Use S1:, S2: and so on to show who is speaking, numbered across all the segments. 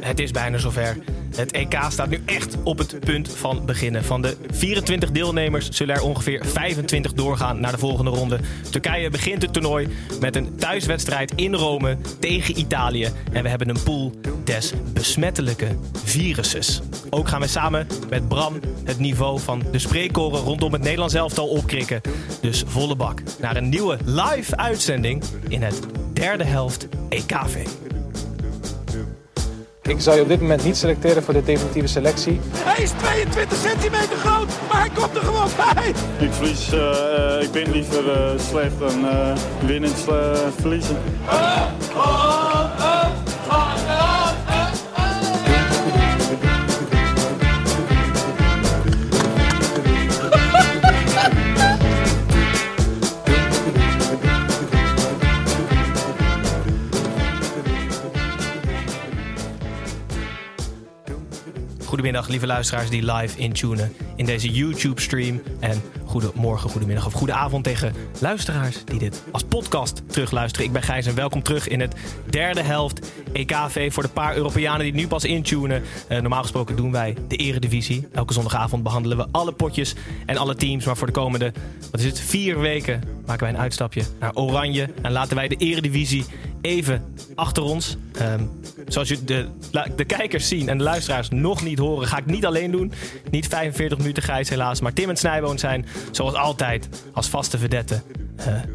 S1: Het is bijna zover. Het EK staat nu echt op het punt van beginnen. Van de 24 deelnemers zullen er ongeveer 25 doorgaan naar de volgende ronde. Turkije begint het toernooi met een thuiswedstrijd in Rome tegen Italië. En we hebben een pool des besmettelijke viruses. Ook gaan we samen met Bram het niveau van de spreekkoren rondom het Nederlands elftal opkrikken. Dus volle bak naar een nieuwe live uitzending in het derde helft E EKV.
S2: Ik zou je op dit moment niet selecteren voor de definitieve selectie.
S3: Hij is 22 centimeter groot, maar hij komt er gewoon bij.
S4: Ik verlies, eh, eh, ik ben liever eh, slecht dan eh, winnen eh, verliezen.
S1: Goedemiddag, lieve luisteraars die live intunen in deze YouTube-stream. En goedemorgen, goedemiddag of goede avond tegen luisteraars die dit als podcast terugluisteren. Ik ben Gijs en welkom terug in het derde helft EKV voor de paar Europeanen die nu pas intunen. Eh, normaal gesproken doen wij de Eredivisie. Elke zondagavond behandelen we alle potjes en alle teams. Maar voor de komende, wat is het, vier weken maken wij een uitstapje naar Oranje. En laten wij de Eredivisie even achter ons. Ehm, zoals je de, la- de kijkers zien en de luisteraars nog niet horen, ga ik niet alleen doen. Niet 45 minuten grijs helaas, maar Tim en Snijboon zijn zoals altijd als vaste verdetten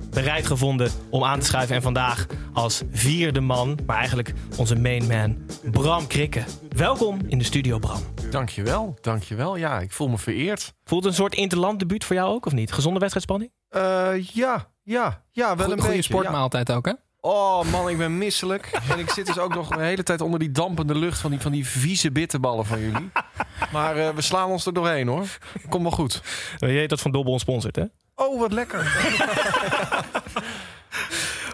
S1: bereid gevonden om aan te schuiven. En vandaag als vierde man, maar eigenlijk onze main man, Bram Krikke. Welkom in de studio, Bram.
S5: Dankjewel, dankjewel. Ja, ik voel me vereerd.
S1: Voelt het een soort interland debuut voor jou ook, of niet? Gezonde wedstrijdspanning?
S5: Eh, ja, ja, ja,
S6: Goe-
S5: wel een
S6: goede
S5: beetje. ja.
S6: sportmaaltijd ook, hè?
S5: Oh man, ik ben misselijk. en ik zit dus ook nog de hele tijd onder die dampende lucht van die, van die vieze bitterballen van jullie. Maar eh, we slaan ons er doorheen hoor. Komt wel goed.
S1: Je weet dat Van Dobbel ons sponsort, hè?
S5: Oh, wat lekker.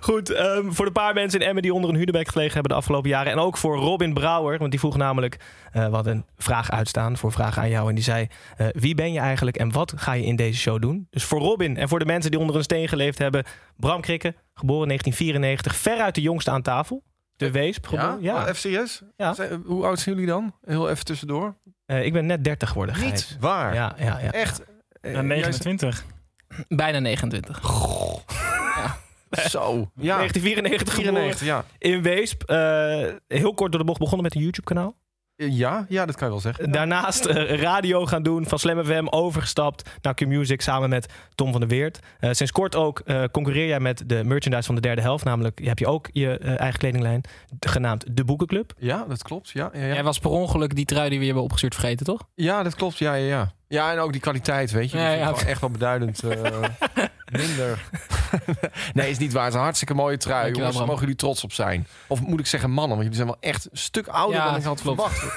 S1: Goed, ehm, voor de paar mensen in Emmen die onder een hudebeek gelegen hebben de afgelopen jaren. En ook voor Robin Brouwer, want die vroeg namelijk eh, wat een vraag uitstaan voor vragen aan jou. En die zei, eh, wie ben je eigenlijk en wat ga je in deze show doen? Dus voor Robin en voor de mensen die onder een steen geleefd hebben. Bram Krikke, geboren in 1994, veruit de jongste aan tafel. De Weesp,
S5: Eh, Ja?
S1: geboren.
S5: ja.
S1: Ja.
S5: Oh, FCS?
S1: Ja.
S5: Zijn- hoe oud zijn jullie dan? Heel even tussendoor.
S1: Eh, ik ben net 30 geworden, Gijs.
S5: Niet waar.
S1: Ja, ja, ja.
S5: Echt. Eh,
S7: Ja, 29.
S6: Bijna 29.
S5: juist- Zo. Ja.
S1: 1994 geboren
S5: 94, ja.
S1: in Weesp. Eh, heel kort door de bocht begonnen met een YouTube-kanaal.
S5: Eh, ja. Ja, dat kan je wel zeggen.
S1: Daarnaast eh, radio gaan doen, van Slam FM overgestapt naar Q-Music samen met Tom van der Weert. Eh, sinds kort ook eh, concurreer jij met de merchandise van de derde helft, namelijk heb je ook je eh, eigen kledinglijn, d- genaamd De Boekenclub.
S5: Ja, dat klopt. Ja, ja, ja.
S6: Jij was per ongeluk die trui die we je hebben opgestuurd vergeten, toch?
S5: Ja, dat klopt. Ja, ja, ja. Ja, en ook die kwaliteit, weet je. Die
S6: Ja,
S5: vind ik
S6: ja.
S5: wel echt wel beduidend eh, minder. nee, is niet waar. Het is een hartstikke mooie trui.
S6: Dankjewel,
S5: Jongens, daar
S6: Bram.
S5: mogen jullie trots op zijn. Of moet ik zeggen mannen, want jullie zijn wel echt een stuk ouder
S6: Ja,
S5: dan ik had
S6: klopt.
S5: verwacht.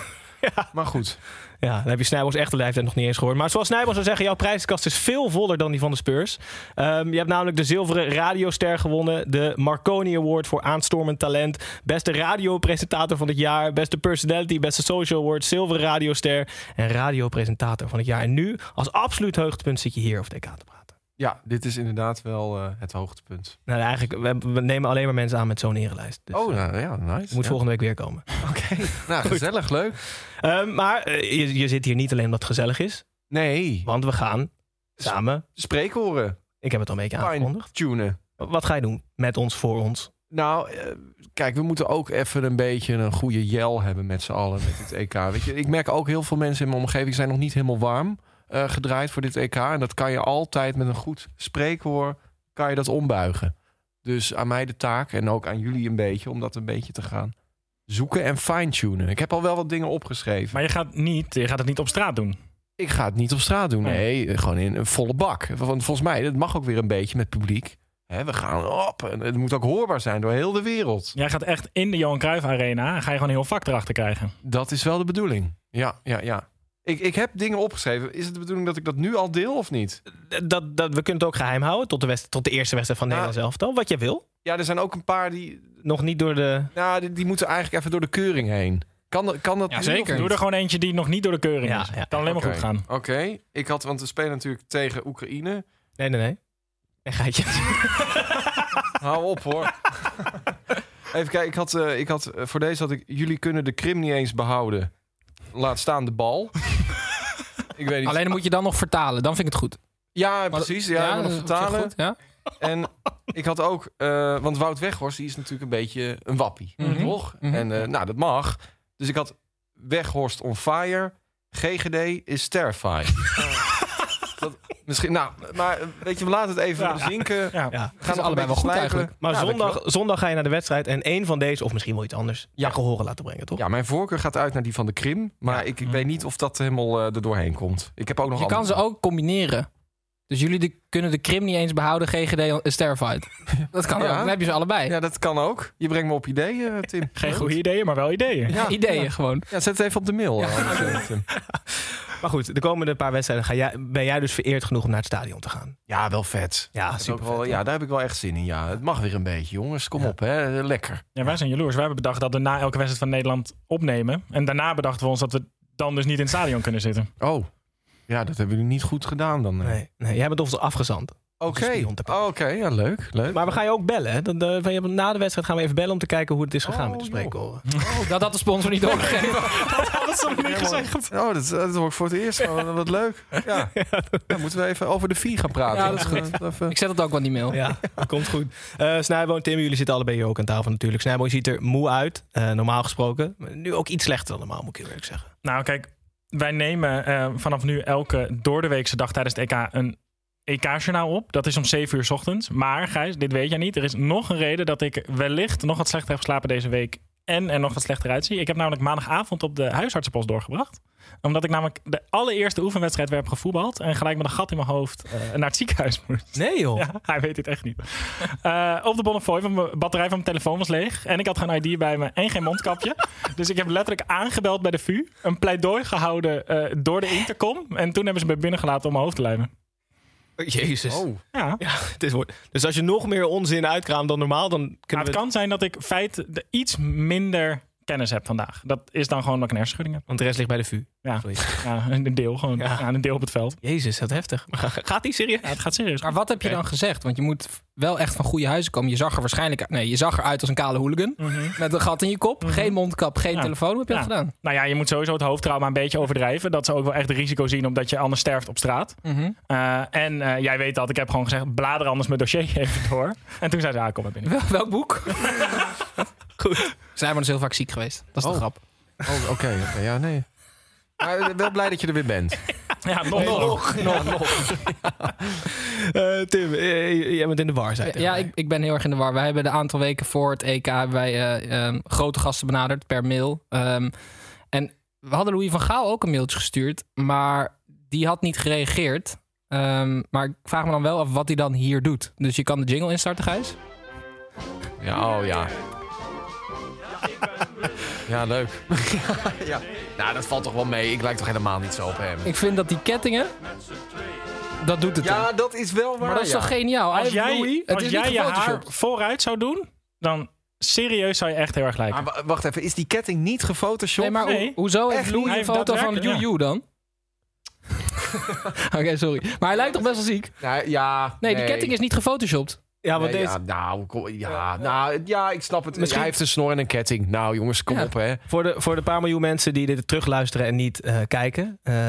S5: Maar goed.
S1: Ja, dan heb je Snijbo's echte leeftijd nog niet eens gehoord. Maar zoals Snijbo's zou zeggen, jouw prijskast is veel voller dan die van de Spurs. Ehm, je hebt namelijk de zilveren radioster gewonnen, de Marconi Award voor aanstormend talent, beste radiopresentator van het jaar, beste personality, beste social award, zilveren radioster en radiopresentator van het jaar. En nu, als absoluut hoogtepunt, zit je hier over DK te praten.
S5: Ja, dit is inderdaad wel eh, het hoogtepunt.
S1: Nou, eigenlijk, we, we nemen alleen maar mensen aan met zo'n erenlijst. Dus, eh,
S5: oh, nou, ja, nice.
S1: moet
S5: Ja.
S1: volgende week weer komen.
S5: Nou, gezellig, leuk.
S1: Ehm, maar eh, je, je zit hier niet alleen omdat het gezellig is,
S5: Nee,
S1: want we gaan samen,
S5: spreekhoren,
S1: ik heb het al een beetje aangekondigd,
S5: fine-tunen.
S1: Wat ga je doen met ons, voor ons?
S5: Nou, eh, kijk, we moeten ook even een beetje een goede jel hebben met z'n allen met dit EK. Weet je, ik merk ook heel veel mensen in mijn omgeving zijn nog niet helemaal warm eh, gedraaid voor dit EK. En dat kan je altijd met een goed spreekwoord, kan je dat ombuigen. Dus aan mij de taak en ook aan jullie een beetje om dat een beetje te gaan zoeken en fine-tunen. Ik heb al wel wat dingen opgeschreven.
S7: Maar je gaat, niet, je gaat het niet op straat doen.
S5: Ik ga het niet op straat doen.
S7: Nee.
S5: Nee, gewoon in een volle bak. Want volgens mij, dat mag ook weer een beetje met publiek. Hè, Hè, we gaan op. En het moet ook hoorbaar zijn door heel de wereld.
S7: Jij gaat echt in de Johan Cruijff Arena. Ga je gewoon een heel vak erachter krijgen.
S5: Dat is wel de bedoeling. Ja, ja, ja. Ik, ik heb dingen opgeschreven. Is het de bedoeling dat ik dat nu al deel of niet?
S1: Dat, dat, we kunnen het ook geheim houden tot de, wedst- tot de eerste wedstrijd van
S5: Ja.
S1: Nederland zelf. elftal. Wat jij wil.
S5: Ja, er zijn ook een paar die,
S1: Nog niet door de...
S5: nou, die, die moeten eigenlijk even door de keuring heen. Kan, dat- kan dat
S6: Ja,
S5: nu
S6: zeker.
S5: of niet?
S7: Doe er gewoon eentje die nog niet door de keuring
S1: Ja,
S7: is.
S1: ja.
S7: kan alleen maar
S5: Oké.
S7: goed gaan.
S5: Oké, ik had, want we spelen natuurlijk tegen Oekraïne.
S1: Nee, nee, nee. Nee, geitje.
S5: Hou op hoor. Even kijken, ik had, eh, ik had, eh, voor deze had ik, jullie kunnen de Krim niet eens behouden. Laat staan de bal. ik weet niet.
S6: Alleen dan moet je dan nog vertalen. Dan vind ik het goed.
S5: Ja,
S6: Maar-
S5: precies. Ja, we
S6: dat
S5: nog
S6: is op zich
S5: vertalen.
S6: goed, ja?
S5: En ik had ook, eh, want Wout Weghorst die is natuurlijk een beetje een wappie,
S6: Mhm.
S5: toch?
S6: Mhm.
S5: En eh, nou, dat mag. Dus ik had Weghorst on fire, GGD is terrified. dat, misschien, nou, maar eh, weet je, we laten het even
S7: Ja.
S5: zinken.
S7: Ja.
S1: Ja.
S5: Gaan
S6: allebei wel
S5: nog een beetje
S6: goed
S5: slijpen.
S6: eigenlijk.
S1: Maar
S5: Ja,
S1: zondag,
S5: dankjewel.
S1: zondag ga je naar de wedstrijd en één van deze, of misschien wel iets anders, ja. gehoren laten brengen, toch?
S5: Ja, mijn voorkeur gaat uit naar die van de Krim. Maar ik, ik weet niet of dat helemaal eh, er doorheen komt. Ik heb ook nog
S6: Je kan ze
S5: andere-
S6: ook combineren. Dus jullie de- kunnen de Krim niet eens behouden, GGD en Starfight. eh, Dat kan
S5: Ja.
S6: ook. Dan heb je ze allebei.
S5: Ja, dat kan ook. Je brengt me op ideeën, eh, Tim.
S7: Geen goede ideeën, maar wel ideeën.
S5: Ja,
S6: Ideeën gewoon.
S5: Ja, zet het even op de mail. eh, anders, eh, Tim.
S1: Maar goed, de komende paar wedstrijden ga jij, ben jij dus vereerd genoeg om naar het stadion te gaan.
S5: Ja, wel vet.
S1: Ja,
S5: Dat is ook
S1: super.
S5: wel- ja, daar heb ik wel echt zin in. Ja, het mag weer een beetje, jongens. Kom op, hè. Lekker.
S7: Ja, wij zijn jaloers. Wij hebben bedacht dat we na elke wedstrijd van Nederland opnemen. En daarna bedachten we ons dat we dan dus niet in het stadion kunnen zitten.
S5: Oh. Ja, dat hebben jullie niet goed gedaan dan. eh.
S1: Nee, nee, jij bent ons afgezand.
S5: Oké. Oh,
S1: Een spion te pakken.
S5: Oké, ja, leuk. leuk.
S1: Maar we gaan je ook bellen. Hè? Dan, eh, van je- na de wedstrijd gaan we even bellen om te kijken hoe het is gegaan
S5: Oh,
S1: met de
S5: joh.
S1: spreekkoren.
S6: Dat had de sponsor niet doorgegeven.
S5: Oh, dat, dat hoor ik voor het eerst. Oh, wat leuk. Ja. Dan moeten we even over de vier gaan praten.
S6: Ja, dat is goed.
S5: Even-
S6: Ik zet het ook wel in die mail.
S1: Ja, dat komt goed. Eh Snijbo en Tim, jullie zitten allebei hier ook aan tafel natuurlijk. Snijbo ziet er moe uit, eh, normaal gesproken. Maar Nu ook iets slechter dan normaal, moet ik heel eerlijk zeggen.
S7: Nou, kijk, wij nemen eh, vanaf nu elke doordeweekse dag tijdens het EK een EK-journaal op. Dat is om 7 uur 's ochtends. Maar Gijs, dit weet jij niet. Er is nog een reden dat ik wellicht nog wat slechter heb geslapen deze week. En er nog wat slechter uitzie. Ik heb namelijk maandagavond op de huisartsenpost doorgebracht. Omdat ik namelijk de allereerste oefenwedstrijd weer heb gevoetbald. En gelijk met een gat in mijn hoofd eh, naar het ziekenhuis moest.
S1: Nee joh.
S7: Ja, hij weet dit echt niet. Eh, op de Bonnefoy, want mijn batterij van mijn telefoon was leeg. En ik had geen ID bij me en geen mondkapje. dus ik heb letterlijk aangebeld bij de VU. Een pleidooi gehouden eh, door de intercom. En toen hebben ze me binnengelaten om mijn hoofd te lijmen.
S1: Jezus.
S5: Oh.
S7: Ja.
S1: Ja, het is woord. Dus als je nog meer onzin uitkraamt dan normaal, dan
S7: Maar
S1: kunnen
S7: nou, het
S1: we...
S7: kan zijn dat ik feit de- iets minder kennis heb vandaag. Dat is dan gewoon dat ik een hersenschudding heb.
S1: Want de rest ligt bij de VU.
S7: Ja,
S1: Zoiets.
S7: ja een deel gewoon.
S1: Ja.
S7: Ja. een deel op het veld.
S1: Jezus, dat heftig. Maar ga- gaat die serieus?
S7: Ja, het gaat serieus.
S6: Maar wat heb je dan gezegd? Want je moet wel echt van goede huizen komen. Je zag er waarschijnlijk... Nee, je zag eruit als een kale hooligan.
S7: Mhm.
S6: Met een gat in je kop. Geen mondkap, geen
S7: Ja.
S6: telefoon. Hoe heb je dat
S7: Ja.
S6: gedaan?
S7: Nou ja, je moet sowieso het hoofdtrauma een beetje overdrijven. Dat ze ook wel echt het risico zien omdat je anders sterft op straat.
S6: Mhm.
S7: Eh, en eh, jij weet dat, ik heb gewoon gezegd, blader anders mijn dossier even door. En toen zei ze, ah, kom maar binnen.
S6: Wel- welk boek? Goed. Snijman is dus heel vaak ziek geweest. Dat is
S5: Oh.
S6: de grap.
S5: Oh, Oké, oké, ja, nee. Maar eh, wel blij dat je er weer bent.
S7: Ja, nog.
S1: nog. Eh, Tim, eh, jij bent in de war, zei
S6: Ja,
S1: hij
S6: ja,
S1: tegen
S6: ik, ik ben heel erg in de war. Wij hebben de aantal weken voor het EK hebben wij, eh, ehm, grote gasten benaderd per mail. Ehm, en we hadden Louis van Gaal ook een mailtje gestuurd, maar die had niet gereageerd. Ehm, maar ik vraag me dan wel af wat hij dan hier doet. Dus je kan de jingle instarten, Gijs.
S5: Ja, oh ja. Ja, leuk. ja. Nou, dat valt toch wel mee. Ik lijk toch helemaal niet zo op hem.
S6: Ik vind dat die kettingen, dat doet het. hem.
S5: Ja, dat is wel waar.
S6: maar dat is
S5: ja.
S6: toch geniaal? Hij
S7: Als
S6: heeft Louis,
S7: jij,
S6: het
S7: als
S6: is
S7: jij
S6: niet
S7: je haar
S6: gefotoshopt.
S7: vooruit zou doen, dan serieus zou je echt heel erg lijken.
S5: Maar wa- wacht even, is die ketting niet gefotoshopt?
S6: Nee, maar ho-
S7: Nee.
S6: hoezo heeft
S5: Echt niet.
S6: Louis
S7: Hij
S6: een
S7: heeft
S6: foto van
S7: daadwerkelijk,
S6: Yu Yu dan? Oké, sorry. Maar hij lijkt toch best wel ziek?
S5: Nou, ja,
S6: Nee, die ketting is niet gefotoshopt.
S1: Ja, want
S5: Nee,
S1: deze,
S5: ja, nou, kom- ja, nou, ja, ik snap het.
S1: Misschien-
S5: Hij heeft een snor en een ketting. Nou, jongens, kom
S6: Ja.
S5: op, hè.
S1: Voor de, voor de paar miljoen mensen die dit terugluisteren en niet eh, kijken. eh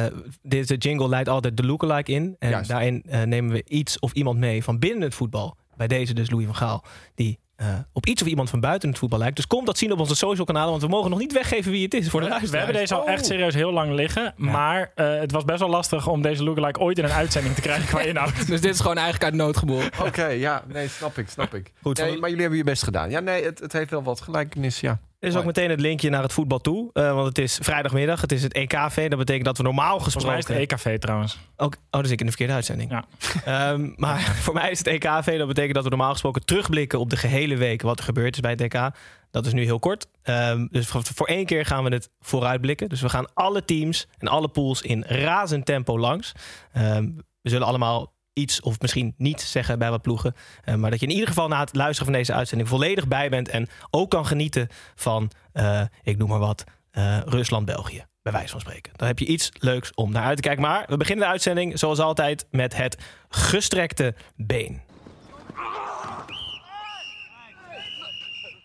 S1: deze jingle leidt altijd de lookalike in. En
S5: Juist.
S1: daarin eh, nemen we iets of iemand mee van binnen het voetbal. Bij deze dus Louis van Gaal. Die eh, op iets of iemand van buiten het voetbal lijkt. Dus kom dat zien op onze social kanalen. Want we mogen nog niet weggeven wie het is voor de luisteraars.
S7: We hebben deze al
S1: Oh.
S7: echt serieus heel lang liggen. Maar eh, het was best wel lastig om deze lookalike ooit in een uitzending te krijgen nou qua inhoud.
S6: Dus dit is gewoon eigenlijk uit nood geboren.
S5: Oké, ja, nee, snap ik, snap ik.
S1: Goed,
S5: nee,
S1: van-
S5: maar jullie hebben je best gedaan. Ja, nee, het, het heeft wel wat gelijkenis, ja.
S1: Er is ook meteen het linkje naar het voetbal toe. eh, want het is vrijdagmiddag, het is het EKV. Dat betekent dat we normaal
S7: Volgens mij is
S1: gesproken...
S7: het EKV trouwens.
S1: Ook, oh, dat is ik in de verkeerde uitzending.
S7: Ja.
S1: Ehm, maar voor mij is het EKV. Dat betekent dat we normaal gesproken terugblikken op de gehele week wat er gebeurd is bij het EK. Dat is nu heel kort. Ehm, dus voor, voor één keer gaan we het vooruitblikken. Dus we gaan alle teams en alle pools in razend tempo langs. Ehm, we zullen allemaal iets of misschien niet zeggen bij wat ploegen. Eh, maar dat je in ieder geval na het luisteren van deze uitzending volledig bij bent. En ook kan genieten van, eh, ik noem maar wat, eh, Rusland-België. Bij wijze van spreken. Dan heb je iets leuks om naar uit te kijken. Maar we beginnen de uitzending zoals altijd met het gestrekte been.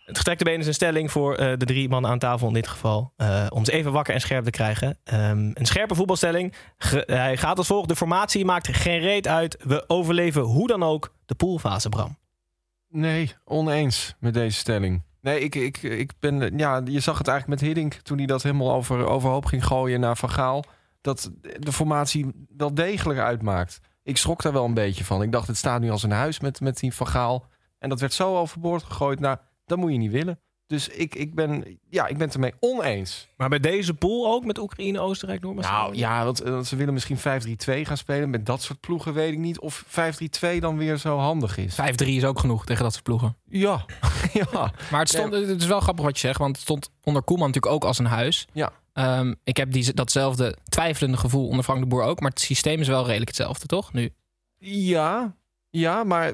S1: Het gestrekte been is een stelling voor eh, de drie mannen aan tafel in dit geval. eh, om ze even wakker en scherp te krijgen. Ehm, een scherpe voetbalstelling. Ge- hij gaat als volgt. De formatie maakt geen reet uit. We overleven hoe dan ook de poolfase, Bram.
S5: Nee, oneens met deze stelling. Nee, ik, ik, ik ben, ja, je zag het eigenlijk met Hiddink toen hij dat helemaal over, overhoop ging gooien naar Van Gaal. Dat de formatie wel degelijk uitmaakt. Ik schrok daar wel een beetje van. Ik dacht, het staat nu als een huis met, met die Van Gaal. En dat werd zo overboord gegooid. Nou, dat moet je niet willen. Dus ik, ik, ben, ja, ik ben het ermee oneens.
S1: Maar bij deze pool ook met Oekraïne, Oostenrijk, Noormacedonië.
S5: Nou ja, want, eh, want ze willen misschien 5-3-2 gaan spelen. Met dat soort ploegen weet ik niet of 5-3-2 dan weer zo handig is.
S6: 5-3 is ook genoeg tegen dat soort ploegen.
S5: Ja, ja.
S6: Maar het, stond, het is wel grappig wat je zegt, want het stond onder Koeman natuurlijk ook als een huis.
S5: Ja.
S6: Ehm, ik heb die, datzelfde twijfelende gevoel onder Frank de Boer ook. Maar het systeem is wel redelijk hetzelfde, toch? Nu.
S5: Ja, ja, maar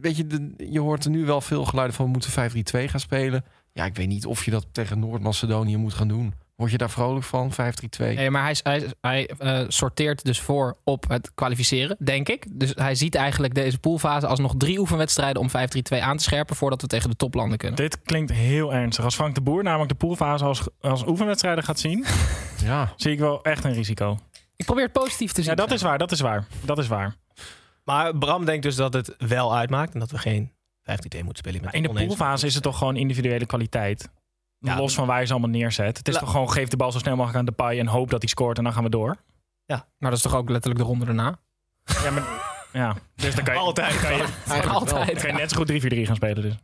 S5: weet je, de- je hoort er nu wel veel geluiden van... we moeten 5-3-2 gaan spelen. Ja, ik weet niet of je dat tegen Noord-Macedonië moet gaan doen. Word je daar vrolijk van, 5-3-2?
S6: Nee, maar hij, is- hij, is- hij eh, sorteert dus voor op het kwalificeren, denk ik. Dus hij ziet eigenlijk deze poolfase als nog drie oefenwedstrijden om 5-3-2 aan te scherpen voordat we tegen de toplanden kunnen.
S7: Dit klinkt heel ernstig. Als Frank de Boer namelijk de poolfase als, als oefenwedstrijden gaat zien,
S5: Ja,
S7: zie ik wel echt een risico.
S6: Ik probeer het positief te zien.
S7: Ja, dat is waar, dat is waar. Dat is waar.
S1: Maar Bram denkt dus dat het wel uitmaakt. En dat we geen 15-2 moeten spelen.
S7: Maar in de poolfase is het toch gewoon individuele kwaliteit.
S1: Ja,
S7: Los van waar je ze allemaal neerzet. Het is
S1: La-
S7: toch gewoon geef de bal zo snel mogelijk aan Depay en hoop dat hij scoort en dan gaan we door.
S6: Maar Nou, dat is toch ook letterlijk de ronde daarna?
S7: Ja, maar, ja. dus dan kan je,
S1: Altijd.
S7: kan je,
S5: eigenlijk wel.
S6: Altijd.
S7: dan kan
S6: ja.
S7: je net zo goed 3-4-3 gaan spelen. Dus.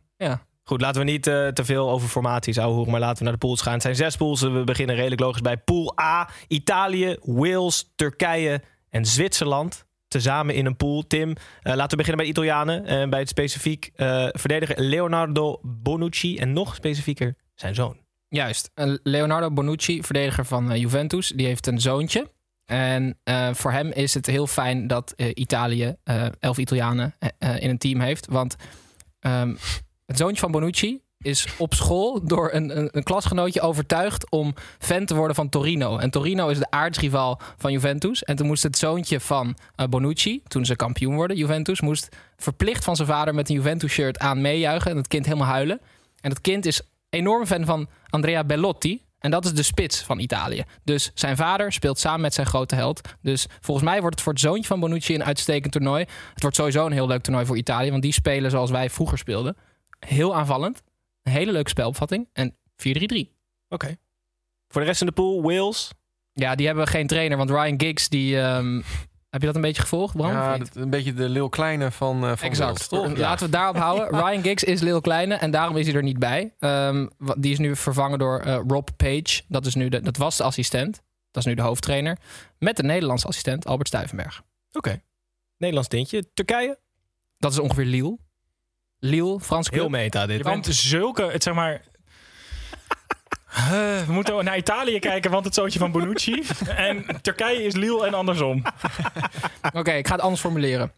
S1: Goed, laten we niet eh, te veel over formaties ouwehoeren, maar laten we naar de pools gaan. Het zijn zes pools. We beginnen redelijk logisch bij pool A. Italië, Wales, Turkije en Zwitserland. Tezamen in een pool. Tim, eh, laten we beginnen bij de Italianen. en bij het specifiek eh, verdediger Leonardo Bonucci. En nog specifieker zijn zoon.
S6: Juist. Eh, Leonardo Bonucci, verdediger van eh, Juventus, die heeft een zoontje. En eh, voor hem is het heel fijn dat eh, Italië eh, elf Italianen eh, eh, in een team heeft. Want ehm, het zoontje van Bonucci is op school door een, een, een klasgenootje overtuigd om fan te worden van Torino. En Torino is de aardsrivaal van Juventus. En toen moest het zoontje van eh, Bonucci, toen ze kampioen worden, Juventus, moest verplicht van zijn vader met een Juventus-shirt aan meejuichen en het kind helemaal huilen. En dat kind is enorm fan van Andrea Bellotti. En dat is de spits van Italië. Dus zijn vader speelt samen met zijn grote held. Dus volgens mij wordt het voor het zoontje van Bonucci een uitstekend toernooi. Het wordt sowieso een heel leuk toernooi voor Italië. Want die spelen zoals wij vroeger speelden. Heel aanvallend. Een hele leuke spelopvatting. En 4-3-3.
S1: Oké. Voor de rest in de pool, Wales.
S6: Ja, die hebben geen trainer. Want Ryan Giggs, die... ehm, heb je dat een beetje gevolgd, Bram? of
S5: ja
S6: niet?
S5: dat- een beetje de Lil Kleine van, eh van Wales,
S6: Exact.
S5: toch? Ja.
S6: Laten we het daarop houden. Ryan Giggs is Lil Kleine en daarom is hij er niet bij. Ehm, wa- die is nu vervangen door eh, Rob Page. Dat, is nu de, dat was de assistent. Dat is nu de hoofdtrainer. Met de Nederlandse assistent Albert Stuyvenberg.
S1: Oké. Nederlands tintje. Turkije.
S6: Dat is ongeveer Lille. Lille, Frans
S1: Heel
S6: club.
S1: meta dit.
S7: Je bent zulke, het zeg maar... Eh, we moeten naar Italië kijken, want het zootje van Bonucci. en Turkije is Lille en andersom.
S6: Oké, ik ga het anders formuleren.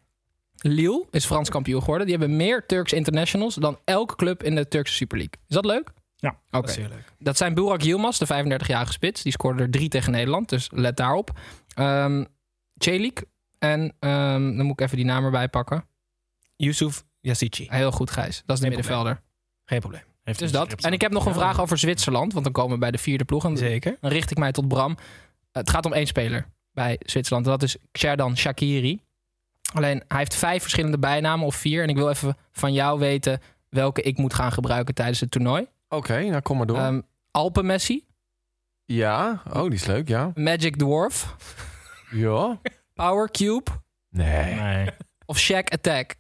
S6: Lille is Frans kampioen geworden. Die hebben meer Turks internationals dan elke club in de Turkse Super League. Is dat leuk?
S7: Ja,
S6: Oké.
S1: Dat is heel leuk.
S6: Dat zijn Burak Yilmaz, de 35-jarige spits. Die scoorde er drie tegen Nederland, dus let daarop. Ehm Celik en ehm, dan moet ik even die naam erbij pakken.
S1: Yusuf Yassici.
S6: Heel goed, Gijs. Dat is de
S1: Geen
S6: middenvelder.
S1: Geen probleem.
S7: Heeft
S6: Dus
S7: een
S6: dat.
S7: script
S6: En ik heb nog een
S7: Ja.
S6: vraag over Zwitserland, want dan komen we bij de vierde ploeg. En dan
S1: Zeker.
S6: richt ik mij tot Bram. Het gaat om één speler bij Zwitserland. en Dat is Xherdan Shakiri. Alleen, hij heeft vijf verschillende bijnamen of vier. En ik wil even van jou weten welke ik moet gaan gebruiken tijdens het toernooi.
S5: Oké, nou kom maar door.
S6: Ehm Alpen Messi,
S5: ja, oh, die is leuk, ja.
S6: Magic Dwarf,
S5: Ja?
S6: Power Cube
S5: Nee.
S7: Nee.
S6: of Shack Attack?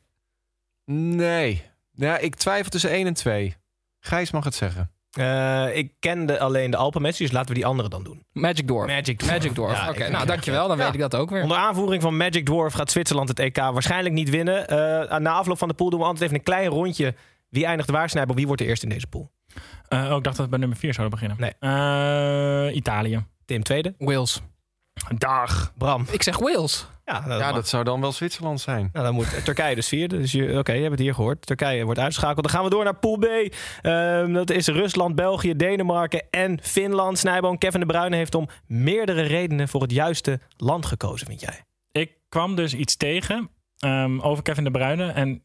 S5: Nee. Ja, ik twijfel tussen 1 en 2. Gijs mag het zeggen.
S1: Eh, ik kende alleen de Alpenmatch, dus laten we die andere dan doen.
S6: Magic Dwarf.
S1: Magic Dwarf.
S6: Magic Dwarf.
S1: Ja,
S6: Oké,
S1: ik vind
S6: nou
S1: het
S6: dankjewel. Dan weet ik dat ook weer.
S1: Onder aanvoering van Magic Dwarf gaat Zwitserland het EK waarschijnlijk niet winnen. Eh, na afloop van de pool doen we altijd even een klein rondje. Wie eindigt waar, Snijboom? Wie wordt de eerste in deze pool?
S7: Eh, oh, ik dacht dat we bij nummer 4 zouden beginnen.
S1: Nee.
S7: Eh, Italië.
S1: Tim tweede.
S6: Wales.
S7: Dag.
S1: Bram.
S6: Ik zeg Wales.
S1: Ja, nou, dat
S5: Ja,
S1: mag.
S5: dat zou dan wel Zwitserland zijn.
S1: Nou, dan moet eh, Turkije dus vierde. Dus je- oké, je hebt het hier gehoord. Turkije wordt uitgeschakeld. Dan gaan we door naar Pool B. Ehm, dat is Rusland, België, Denemarken en Finland. Snijboom, Kevin de Bruyne heeft om meerdere redenen voor het juiste land gekozen, vind jij?
S7: Ik kwam dus iets tegen ehm, over Kevin de Bruyne. En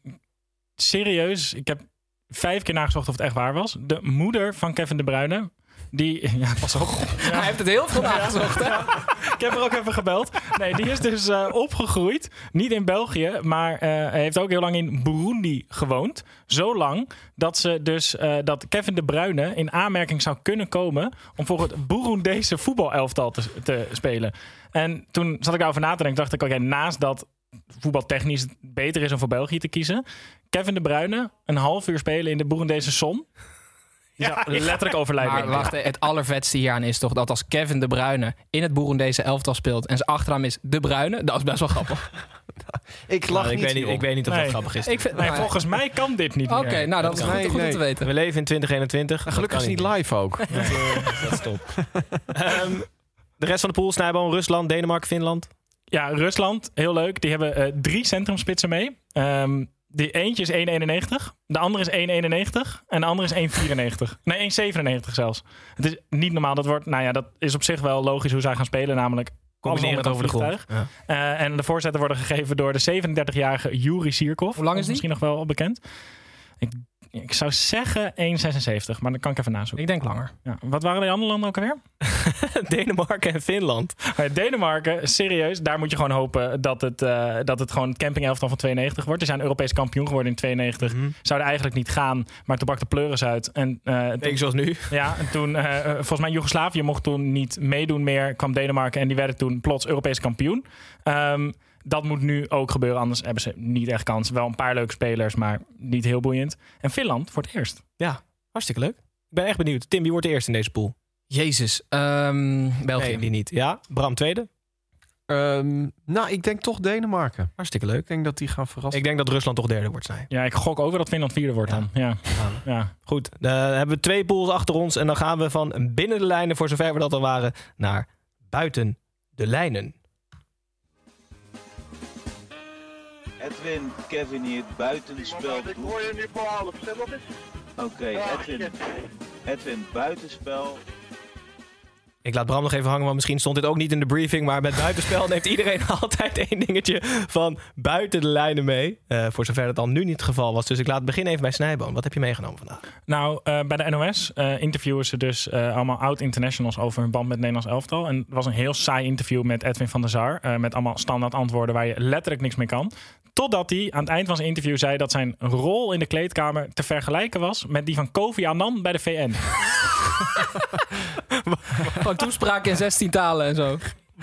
S7: serieus, ik heb vijf keer nagezocht of het echt waar was. De moeder van Kevin de Bruyne, die... Ja, pas op. Ja.
S6: Hij heeft het heel veel nagezocht, hè?
S7: Ik heb er ook even gebeld. Nee, die is dus eh, opgegroeid. Niet in België, maar eh, hij heeft ook heel lang in Burundi gewoond. Zo lang dat, ze dus, eh, dat Kevin de Bruyne in aanmerking zou kunnen komen... om voor het Burundese voetbalelftal te, te spelen. En toen zat ik daarover na te denken. dacht ik, oké, naast dat voetbaltechnisch het beter is om voor België te kiezen... Kevin de Bruyne een half uur spelen in de Burundese som... Die zou letterlijk overlijden.
S6: Maar wacht, hè, het allervetste hieraan is toch dat als Kevin de Bruyne in het Boerendese elftal speelt en zijn achternaam is de Bruyne, dat is best wel grappig.
S5: Ik lach
S1: Nou, ik,
S5: niet,
S1: weet niet
S5: joh.
S1: ik weet niet of dat
S7: Nee.
S1: grappig is.
S6: Ik vind, Oh
S7: Nee, volgens mij kan dit niet
S6: Oké,
S7: meer.
S6: nou dat is goed,
S5: Nee,
S6: goed om
S5: nee.
S6: te weten.
S1: We leven in 2021. Dat
S5: Gelukkig is
S1: kan
S5: het niet live ook.
S1: Dat is top. Ehm, de rest van de pool, Snijboom, Rusland, Denemarken, Finland.
S7: Ja, Rusland, heel leuk. Die hebben eh, drie centrumspitsen mee. Ehm, die eentje is 1,91. De andere is 1,91. En de andere is 1,94. Nee, 1,97 zelfs. Het is niet normaal. Dat wordt, nou ja, dat is op zich wel logisch hoe zij gaan spelen. Namelijk
S1: Combineren
S7: met
S1: het over de grond. Ja.
S7: Eh, en de voorzetten worden gegeven door de 37-jarige Yuri Sirkov.
S6: Hoe lang is die?
S7: Misschien nog wel bekend. Ik, ik zou zeggen 1,76. Maar dan kan ik even nazoeken.
S6: Ik denk langer.
S7: Ja. Wat waren die andere landen ook alweer?
S1: Denemarken en Finland.
S7: Maar Eh, Denemarken, serieus, daar moet je gewoon hopen dat het, eh, dat het gewoon het campingelftal van 92 wordt. Ze zijn Europees kampioen geworden in 92.
S1: Mhm.
S7: Zouden eigenlijk niet gaan, maar toen brak de pleuris uit. En, eh, toen-
S1: Denk zoals nu.
S7: ja, en toen, eh, eh, volgens mij Joegoslavië mocht toen niet meedoen meer, kwam Denemarken en die werden toen plots Europees kampioen. Ehm, dat moet nu ook gebeuren, anders hebben ze niet echt kans. Wel een paar leuke spelers, maar niet heel boeiend. En Finland voor het eerst.
S1: Ja, hartstikke leuk. Ik ben echt benieuwd. Tim, wie wordt de eerste in deze pool?
S6: Jezus, ehm, België.
S1: Nee, die niet. Ja, Bram tweede.
S5: Ehm, nou, ik denk toch Denemarken.
S1: Hartstikke
S5: Ik
S1: leuk.
S5: denk dat die gaan verrassen.
S1: Ik denk dat Rusland toch derde wordt, zijn.
S7: Ja, ik gok over dat Finland vierde wordt
S1: Ja.
S7: dan. Ja. Ja.
S1: Goed, dan hebben we twee pools achter ons. En dan gaan we van binnen de lijnen, voor zover we dat al waren, naar buiten de lijnen.
S8: Edwin, Kevin hier, het buitenspel. Ik hoor je niet voor Oké, Edwin. Edwin, buitenspel.
S1: Ik laat Bram nog even hangen, want misschien stond dit ook niet in de briefing. Maar met buitenspel neemt iedereen altijd één dingetje van buiten de lijnen mee. Eh, voor zover dat al nu niet het geval was. Dus ik laat het begin even bij Snijboom. Wat heb je meegenomen vandaag?
S7: Nou, eh, bij de NOS eh, interviewen ze dus eh, allemaal oud-internationals over hun band met het Nederlands elftal. En het was een heel saai interview met Edwin van der Sar. eh, met allemaal standaard antwoorden waar je letterlijk niks mee kan. Totdat hij aan het eind van zijn interview zei dat zijn rol in de kleedkamer te vergelijken was met die van Kofi Annan bij de VN.
S6: Gewoon toespraken in 16 talen en zo.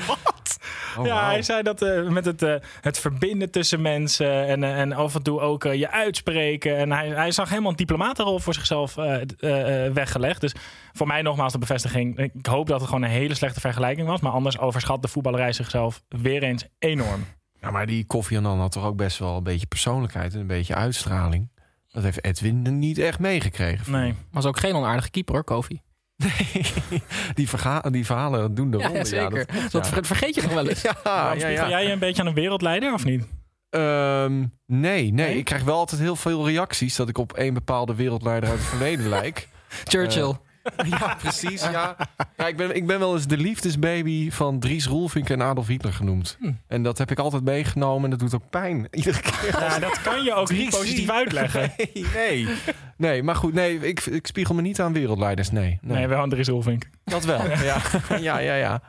S5: Oh,
S7: ja,
S5: wauw.
S7: hij zei dat eh, met het, eh, het verbinden tussen mensen en, eh, en af en toe ook eh, je uitspreken. En hij, hij zag helemaal een diplomatenrol voor zichzelf eh, d- eh, eh, weggelegd. Dus voor mij nogmaals de bevestiging. Ik hoop dat het gewoon een hele slechte vergelijking was. Maar anders overschat de voetballerij zichzelf weer eens enorm.
S5: Ja, maar die Koffie Annan had toch ook best wel een beetje persoonlijkheid en een beetje uitstraling. Dat heeft Edwin niet echt meegekregen.
S7: Nee.
S6: Was ook geen onaardige keeper hoor, Kofi.
S5: Die, verga- die verhalen doen de ronde.
S6: Ja, zeker.
S5: Oh, Ja, dat, Ah,
S6: Dat ver- vergeet je nog wel eens.
S5: ja, ja,
S7: Spiegel
S5: ja.
S7: jij je een beetje aan een wereldleider of niet?
S5: Ehm, nee, nee, ik krijg wel altijd heel veel reacties dat ik op één bepaalde wereldleider uit het verleden lijk.
S6: Churchill.
S5: Ja, precies. Ja. Ja, ik, ben, ik ben wel eens de liefdesbaby van Dries Roelvink en Adolf Hitler genoemd. En dat heb ik altijd meegenomen en dat doet ook pijn. Iedere keer.
S7: Ja, Nou, dat kan je ook niet
S5: Drie-
S7: positief uitleggen.
S5: Nee, nee. Nee, maar goed, nee, ik, ik spiegel me niet aan wereldleiders. Nee, nee.
S7: Nee, wel aan Dries Ulvink.
S5: dat wel. Ja, ja, ja. ja.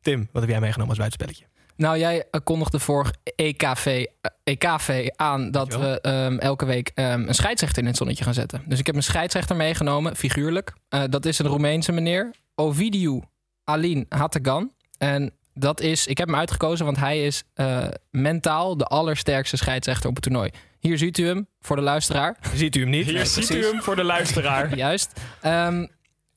S1: Tim, wat heb jij meegenomen als buitenspelletje?
S6: Nou, jij eh, kondigde vorig EKV, eh, EKV aan dat
S1: Dankjewel.
S6: we ehm, elke week ehm, een scheidsrechter in het zonnetje gaan zetten. Dus ik heb een scheidsrechter meegenomen, figuurlijk. Eh, dat is een Roemeense meneer, Ovidiu Alin Hategan. En dat is, ik heb hem uitgekozen, want hij is eh, mentaal de allersterkste scheidsrechter op het toernooi. Hier ziet u hem voor de luisteraar.
S1: Ziet u hem niet?
S7: Hier
S1: Nee,
S7: ziet
S1: precies.
S7: u hem voor de luisteraar.
S6: Juist. Ehm,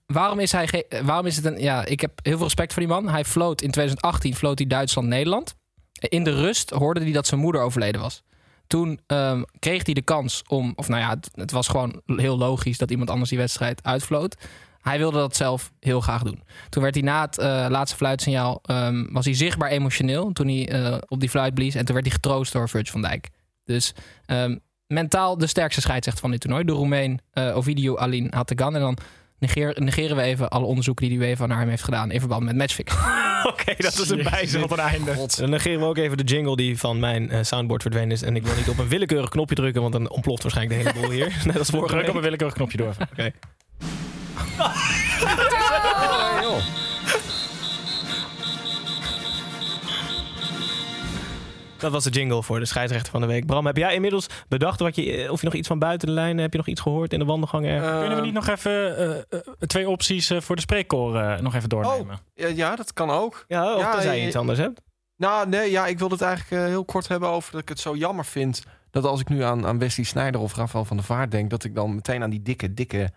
S6: waarom is hij ge- waarom is het een ja, ik heb heel veel respect voor die man. Hij floot in 2018 floot hij Duitsland Nederland. In de rust hoorde hij dat zijn moeder overleden was. Toen ehm, kreeg hij de kans om of nou ja, het, het was gewoon heel logisch dat iemand anders die wedstrijd uitvloot. Hij wilde dat zelf heel graag doen. Toen werd hij na het eh, laatste fluitsignaal ehm, was hij zichtbaar emotioneel toen hij eh, op die fluit blies en toen werd hij getroost door Virgil van Dijk. Dus ehm, mentaal de sterkste scheidsrechter van dit toernooi. De Roemeen eh, Ovidiu Alin Hategan. En dan negeer- negeren we even alle onderzoeken die de UEFA naar hem heeft gedaan in verband met matchfixing.
S1: Oké, dat is een bijzin.
S7: Wat een einde.
S1: Dan negeren we ook even de jingle die van mijn eh, soundboard verdwenen is. En ik wil niet op een willekeurig knopje drukken, want dan ontploft waarschijnlijk de hele boel hier. Net als vorige
S7: Druk op
S1: week.
S7: een willekeurig knopje door. even.
S1: Dat was de jingle voor de scheidsrechter van de week. Bram, heb jij inmiddels bedacht wat je, eh, of je nog iets van buiten de lijn, heb je nog iets gehoord in de wandelgang? ergens?
S5: Ehm,
S7: Kunnen we niet nog even eh, eh, twee opties eh, voor de spreekkoren eh, nog even doornemen?
S6: Oh,
S5: ja, ja, dat kan ook.
S1: ja, of
S5: ja,
S1: tenzij je
S5: je-
S1: iets anders hebt.
S5: Nou, nee, ja, ik wilde het eigenlijk eh, heel kort hebben over dat ik het zo jammer vind... dat als ik nu aan, aan Wesley Sneijder of Rafael van der Vaart denk... dat ik dan meteen aan die dikke, dikke,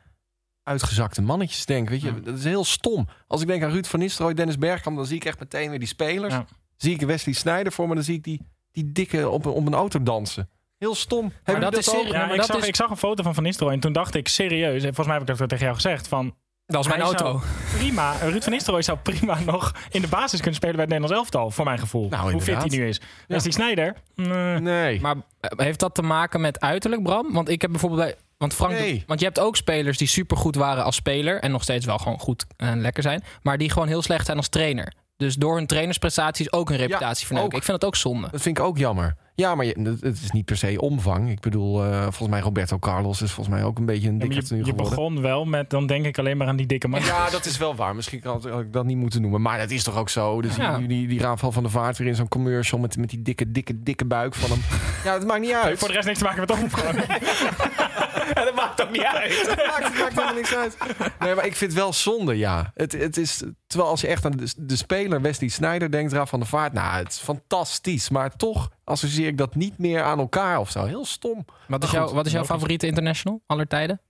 S5: uitgezakte mannetjes denk. Weet je,
S7: Ja.
S5: dat is heel stom. Als ik denk aan Ruud van Nistelrooy, Dennis Bergkamp... dan zie ik echt meteen weer die spelers.
S7: Ja.
S5: Zie ik Wesley Sneijder voor me, dan zie ik die, die dikke op, een- op een auto dansen. Heel stom. Hebben
S6: dat
S5: jullie
S6: is
S5: ook?
S6: serieus.
S7: Ja,
S6: maar
S7: ik,
S6: dat
S7: zag,
S6: is-
S7: ik zag een foto van Van Nistelrooy en toen dacht ik serieus, en volgens mij heb ik dat tegen jou gezegd, van
S6: Dat was mijn
S7: Hij
S6: auto.
S7: zou prima, Ruud van Nistelrooy zou prima nog in de basis kunnen spelen bij het Nederlands elftal, voor mijn gevoel.
S5: Nou,
S7: Hoe fit
S5: inderdaad.
S7: hij nu is. Wesley Sneijder? Nee.
S5: Nee.
S6: Maar eh, heeft dat te maken met uiterlijk, Bram? Want ik heb bijvoorbeeld bij. Want, Frank de-
S5: Nee.
S6: want je hebt ook spelers die supergoed waren als speler. En nog steeds wel gewoon goed en lekker zijn. Maar die gewoon heel slecht zijn als trainer. Dus door hun trainersprestaties ook hun reputatie verneuken.
S5: ook.
S6: Ik vind dat ook zonde.
S5: Dat vind ik ook jammer. Ja, maar je- het het is niet per se omvang. Ik bedoel, eh, volgens mij Roberto Carlos is volgens mij ook een beetje een
S7: Ja, maar
S5: dikke
S7: je
S5: nu
S7: je
S5: geworden.
S7: begon wel met, dan denk ik alleen maar aan die dikke man.
S5: Ja, dat is wel waar. Misschien had had ik dat niet moeten noemen. Maar dat is toch ook zo. Dus
S6: Ja.
S5: die, die, die Rafael van de Vaart weer in zo'n commercial met, met die dikke, dikke, dikke buik van hem. Ja, het maakt niet uit.
S7: Voor de rest niks te maken met omgang. dat maakt ook niet uit.
S5: Het maakt, het maakt helemaal niks uit. Nee, maar ik vind het wel zonde, ja. Het, het is, terwijl als je echt aan de, de speler Wesley Sneijder denkt, Rafael van de Vaart. Nou, het is fantastisch. Maar toch associeer ik dat niet meer aan elkaar of zo. Heel stom.
S6: Wat is,
S5: Maar
S6: jouw,
S5: goed,
S6: wat is jouw
S5: logisch.
S6: favoriete international aller tijden?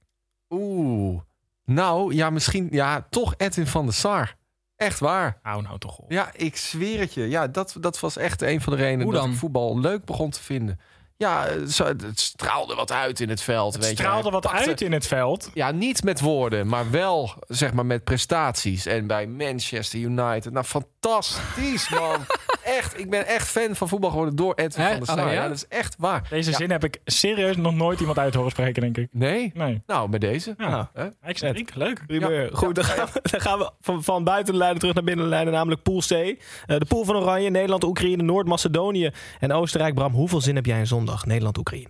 S5: Oeh. Nou, ja, misschien... Ja, toch Edwin van der Sar. Echt waar.
S7: Nou, nou toch op.
S5: Ja, ik zweer het je. Ja, dat, dat was echt een van de redenen
S6: Hoe
S5: dat
S6: dan?
S5: ik voetbal leuk begon te vinden. Ja, eh, zo- het straalde wat uit in het veld.
S7: Het
S5: weet je.
S7: straalde
S5: Hij
S7: wat
S5: pakte-
S7: uit in het veld.
S5: Ja, niet met woorden, maar wel zeg maar met prestaties. En bij Manchester United. Nou, fantastisch, man. echt, ik ben echt fan van voetbal geworden door Edwin
S6: Hè?
S5: van der
S6: Oh,
S5: Sar.
S6: ja?
S5: ja? dat is echt waar.
S7: Deze
S5: Ja.
S7: zin heb ik serieus nog nooit iemand uit horen spreken, denk ik.
S5: Nee?
S7: Nee.
S5: Nou, bij deze.
S7: Ja.
S5: Hè?
S7: Ik zeg, ik, leuk.
S1: Primeur. Goed, dan gaan we, dan gaan we van, van buiten de lijnen terug naar binnen de lijnen, namelijk Pool C. Eh, de Pool van Oranje, Nederland, Oekraïne, Noord-Macedonië en Oostenrijk. Bram, hoeveel zin heb jij in zondag? Nederland, Oekraïne.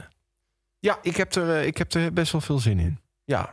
S5: Ja, ik heb, er, eh, ik heb er best wel veel zin in. Ja,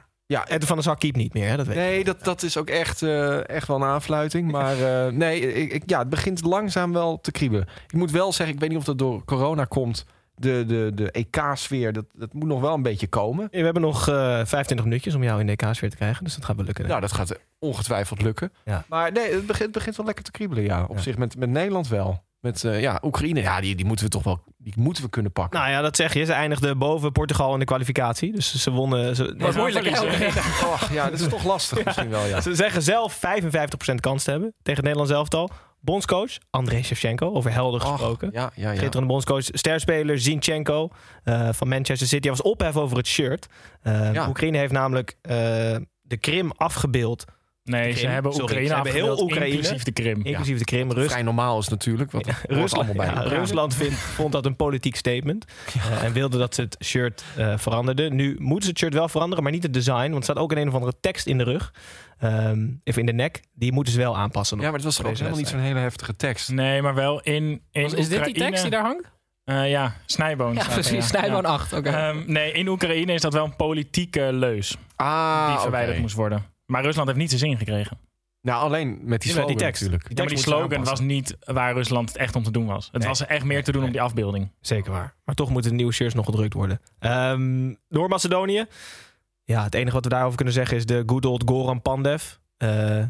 S1: Ed van der Zak keept niet meer, hè? dat weet ik.
S5: Nee, dat, dat is ook echt, eh, echt wel een aanfluiting. Maar eh, nee, ik, ik- ja, het begint langzaam wel te kriebelen. Ik moet wel zeggen, ik weet niet of dat door corona komt. De, de, de EK-sfeer, dat, dat moet nog wel een beetje komen.
S1: We hebben nog eh 25 minuutjes om jou in de kaas weer te krijgen, dus dat gaat wel lukken.
S5: Nou, dat gaat eh, ongetwijfeld lukken.
S1: Ja.
S5: Maar nee, het begint, het begint wel lekker te kriebelen, ja. Op
S1: Ja.
S5: zich, met, met Nederland wel. Met eh, ja, Oekraïne, ja, die, die moeten we toch wel die moeten we kunnen pakken.
S1: Nou ja, dat zeg je. Ze eindigden boven Portugal in de kwalificatie. Dus ze wonnen. Ze,
S7: Wat moeilijk, hè?
S1: Nou.
S5: Och, ja, dat is toch lastig misschien wel, ja.
S1: ze zeggen zelf 55% kans te hebben tegen het Nederlands elftal. Bondscoach André Shevchenko, over helder
S5: Och,
S1: gesproken.
S5: ja, ja, Ah, ja.
S1: Schitterende bondscoach. Sterspeler Zinchenko eh, van Manchester City. Hij was ophef over het shirt. Eh,
S5: Ja.
S1: Oekraïne heeft namelijk eh, de Krim afgebeeld.
S7: Nee,
S1: De
S7: ze
S1: Krim.
S7: hebben
S1: Sorry,
S7: Oekraïne
S1: ze hebben heel
S7: afgebeeld,
S1: Oekraïne.
S7: inclusief de Krim.
S1: Inclusief de Krim. Rus,
S5: Vrij normaal is natuurlijk. Wat, hoort
S1: Rusland,
S5: allemaal bij
S1: ja,
S5: elkaar.
S1: Rusland vindt, vond dat een politiek statement. Eh, en wilde dat ze het shirt eh veranderden. Nu moeten ze het shirt wel veranderen, maar niet het design. Want er staat ook een een of andere tekst in de rug. Ehm even in de nek. Die moeten ze wel aanpassen. nog.
S5: Ja, maar het was
S1: Voor
S5: ook
S1: deze
S5: helemaal niet zo'n hele heftige tekst.
S7: Nee, maar wel in, in
S6: Is dit die tekst die daar hangt?
S7: Eh, ja, snijboon.
S6: Ja,
S7: staat er,
S6: precies. Snijboon 8. Oké.
S7: Ehm, nee, in Oekraïne is dat wel een politieke leus die
S5: Ah,
S7: verwijderd
S5: oké.
S7: moest worden. Maar Rusland heeft niet zijn zin gekregen.
S5: Nou, alleen met die
S1: Ja, met
S5: slogan
S1: die tekst.
S5: natuurlijk.
S7: Ja, maar die
S1: tekst moeten ze
S7: slogan was
S1: aanpassen.
S7: niet waar Rusland het echt om te doen was. Het
S1: Nee.
S7: was echt meer te doen om die afbeelding.
S1: Zeker waar. Maar toch moeten de nieuwe shirts nog gedrukt worden. Ehm Noord-Macedonië. Ja, het enige wat we daarover kunnen zeggen is de good old Goran Pandev. Eh,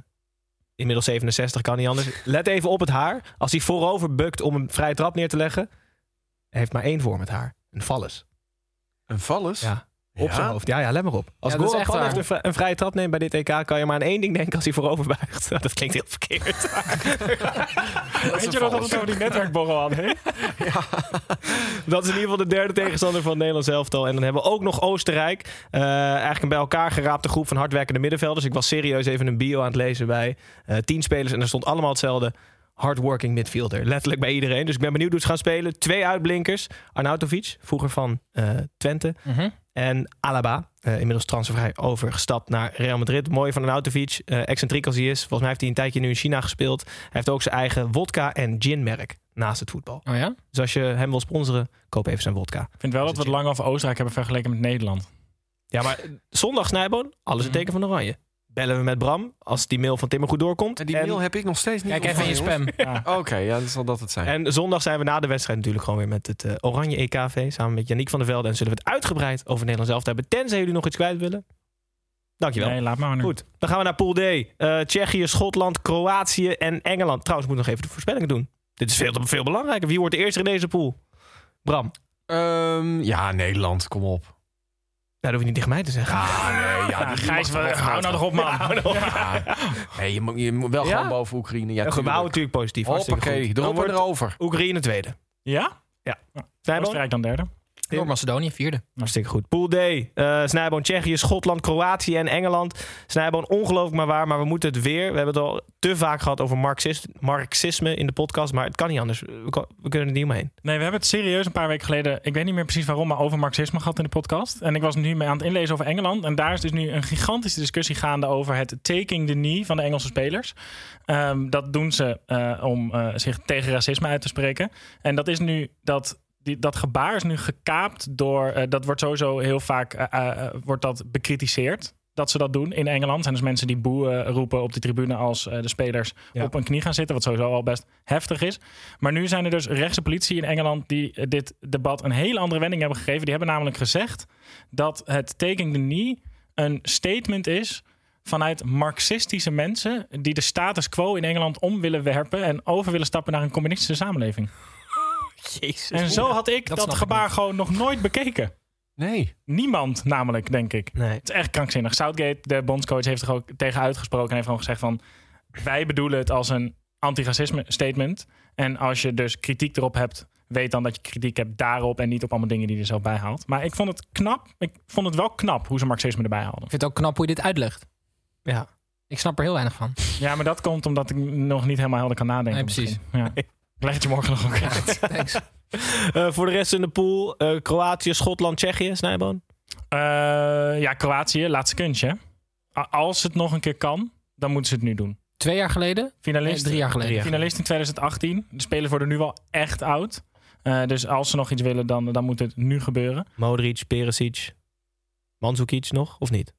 S1: inmiddels 67, kan niet anders. Let even op het haar. Als hij voorover bukt om een vrije trap neer te leggen... hij heeft maar één vorm het haar. Een vallus.
S5: Een vallus?
S1: Ja. Op zijn hoofd. Ja, ja, let maar op. Als
S6: Ja, dat is
S1: Goran
S6: echt
S1: Panov
S6: waar.
S1: een, vri- een vrije trap neemt bij dit EK... kan je maar aan één ding denken als hij voorover buigt. Dat klinkt heel verkeerd.
S7: Weet je nog dat we het over die netwerkborrel hadden? hè?
S1: Dat is in ieder geval de derde tegenstander van het Nederlands elftal. En dan hebben we ook nog Oostenrijk. Eh, eigenlijk een bij elkaar geraapte groep van hardwerkende middenvelders. Ik was serieus even een bio aan het lezen bij eh, tien spelers. En er stond allemaal hetzelfde. Hardworking midfielder. Letterlijk bij iedereen. Dus ik ben benieuwd hoe ze gaan spelen. Twee uitblinkers. Arnautovic, vroeger van eh, Twente. En Alaba, eh, inmiddels transfervrij overgestapt naar Real Madrid. Mooi van Arnautovic, eh excentriek als hij is. Volgens mij heeft hij een tijdje nu in China gespeeld. Hij heeft ook zijn eigen wodka- en ginmerk naast het voetbal.
S6: Oh ja?
S1: Dus als je hem wil sponsoren, koop even zijn wodka.
S7: Ik vind wel dat we het lang over Oostenrijk hebben vergeleken met Nederland.
S1: Ja, maar zondag Snijboon, alles een teken van oranje. Bellen we met Bram als die mail van Timmer goed doorkomt.
S5: En die mail heb ik nog steeds niet
S6: Kijk even in je
S5: ontvangen,
S6: spam.
S5: jongens. Oké, ja, dan zal dat het zijn.
S1: en zondag zijn we na de wedstrijd natuurlijk gewoon weer met het eh, Oranje EKV. Samen met Yannick van der Velde. En zullen we het uitgebreid over Nederland zelf hebben. Tenzij jullie nog iets kwijt willen. Dankjewel.
S7: Nee, laat maar nu.
S1: Goed, dan gaan we naar Pool D. Eh, Tsjechië, Schotland, Kroatië en Engeland. Trouwens, ik moet nog even de voorspellingen doen. Dit is veel, te- veel belangrijker. Wie wordt de eerste in deze pool? Bram. Nou,
S5: Ehm, ja, Nederland, kom op.
S1: dat hoef je niet tegen mij te zeggen.
S5: Ah, nee, ja,
S7: Ja,
S5: die- die
S7: Gijs,
S5: mag
S7: we-
S5: toch wel
S7: hou nou toch op, man.
S5: Ja. Nee, je, moet, je moet wel
S1: Ja?
S5: gewoon boven Oekraïne. Ja,
S1: Ja, we
S5: tuurlijk.
S1: houden natuurlijk positief. Hartstikke
S5: Hoppakee,
S1: goed.
S5: erop
S1: Dan
S5: en
S1: wordt
S5: erover.
S1: Oekraïne tweede.
S7: Ja?
S1: Snijboon?
S7: Oostenrijk dan derde.
S6: Noord-Macedonië vierde.
S1: Hartstikke goed. Pool D. eh Snijboon, Tsjechië, Schotland, Kroatië en Engeland. Snijboon, ongelooflijk maar waar, maar we moeten het weer. We hebben het al te vaak gehad over marxist, marxisme in de podcast, maar het kan niet anders. We, kan- we kunnen er niet omheen.
S7: Nee, we hebben het serieus een paar weken geleden, ik weet niet meer precies waarom, maar over marxisme gehad in de podcast. En ik was nu mee aan het inlezen over Engeland. En daar is dus nu een gigantische discussie gaande over het taking the knee van de Engelse spelers. Ehm, dat doen ze eh, om eh, zich tegen racisme uit te spreken. En dat is nu dat. Die, dat gebaar is nu gekaapt door. eh, dat wordt sowieso heel vaak eh, eh, eh, wordt dat bekritiseerd. Dat ze dat doen in Engeland. Zijn dus mensen die boe eh, roepen op de tribune als eh, de spelers
S1: Ja.
S7: op hun knie gaan zitten. Wat sowieso al best heftig is. Maar nu zijn er dus rechtse politici in Engeland die eh, dit debat een hele andere wending hebben gegeven. Die hebben namelijk gezegd dat het taking the knee een statement is vanuit marxistische mensen die de status quo in Engeland om willen werpen en over willen stappen naar een communistische samenleving.
S1: Jezus.
S7: En zo had ik
S6: dat
S7: dat,
S6: snap ik
S7: gebaar
S6: niet.
S7: gewoon nog nooit bekeken.
S5: Nee.
S7: Niemand namelijk, denk ik.
S1: Nee.
S7: Het is echt krankzinnig. Southgate, de bondscoach, heeft er ook tegen uitgesproken. En heeft gewoon gezegd van... wij bedoelen het als een antiracisme statement. En als je dus kritiek erop hebt... weet dan dat je kritiek hebt daarop... en niet op allemaal dingen die je er zelf bij haalt. Maar ik vond het knap. Ik vond het wel knap hoe ze marxisme erbij haalden.
S6: Ik vind het ook knap hoe je dit uitlegt.
S1: Ja.
S6: Ik snap er heel weinig van.
S7: Ja, maar dat komt omdat ik nog niet helemaal helder kan nadenken.
S6: Nee, precies.
S7: misschien. Ja. Ik leg het je morgen nog ook uit.
S6: Thanks.
S1: Eh, voor de rest in de pool, eh, Kroatië, Schotland, Tsjechië, Snijboon.
S7: Eh, ja, Kroatië, laatste kunstje. A- Als het nog een keer kan, dan moeten ze het nu doen.
S6: Twee jaar geleden? Nee,
S7: Finalist,
S6: drie jaar geleden.
S7: finalist in 2018. De spelers worden nu wel echt oud. Eh, dus als ze nog iets willen, dan, dan moet het nu gebeuren.
S1: Modric, Perisic, Mandzukic nog, of niet?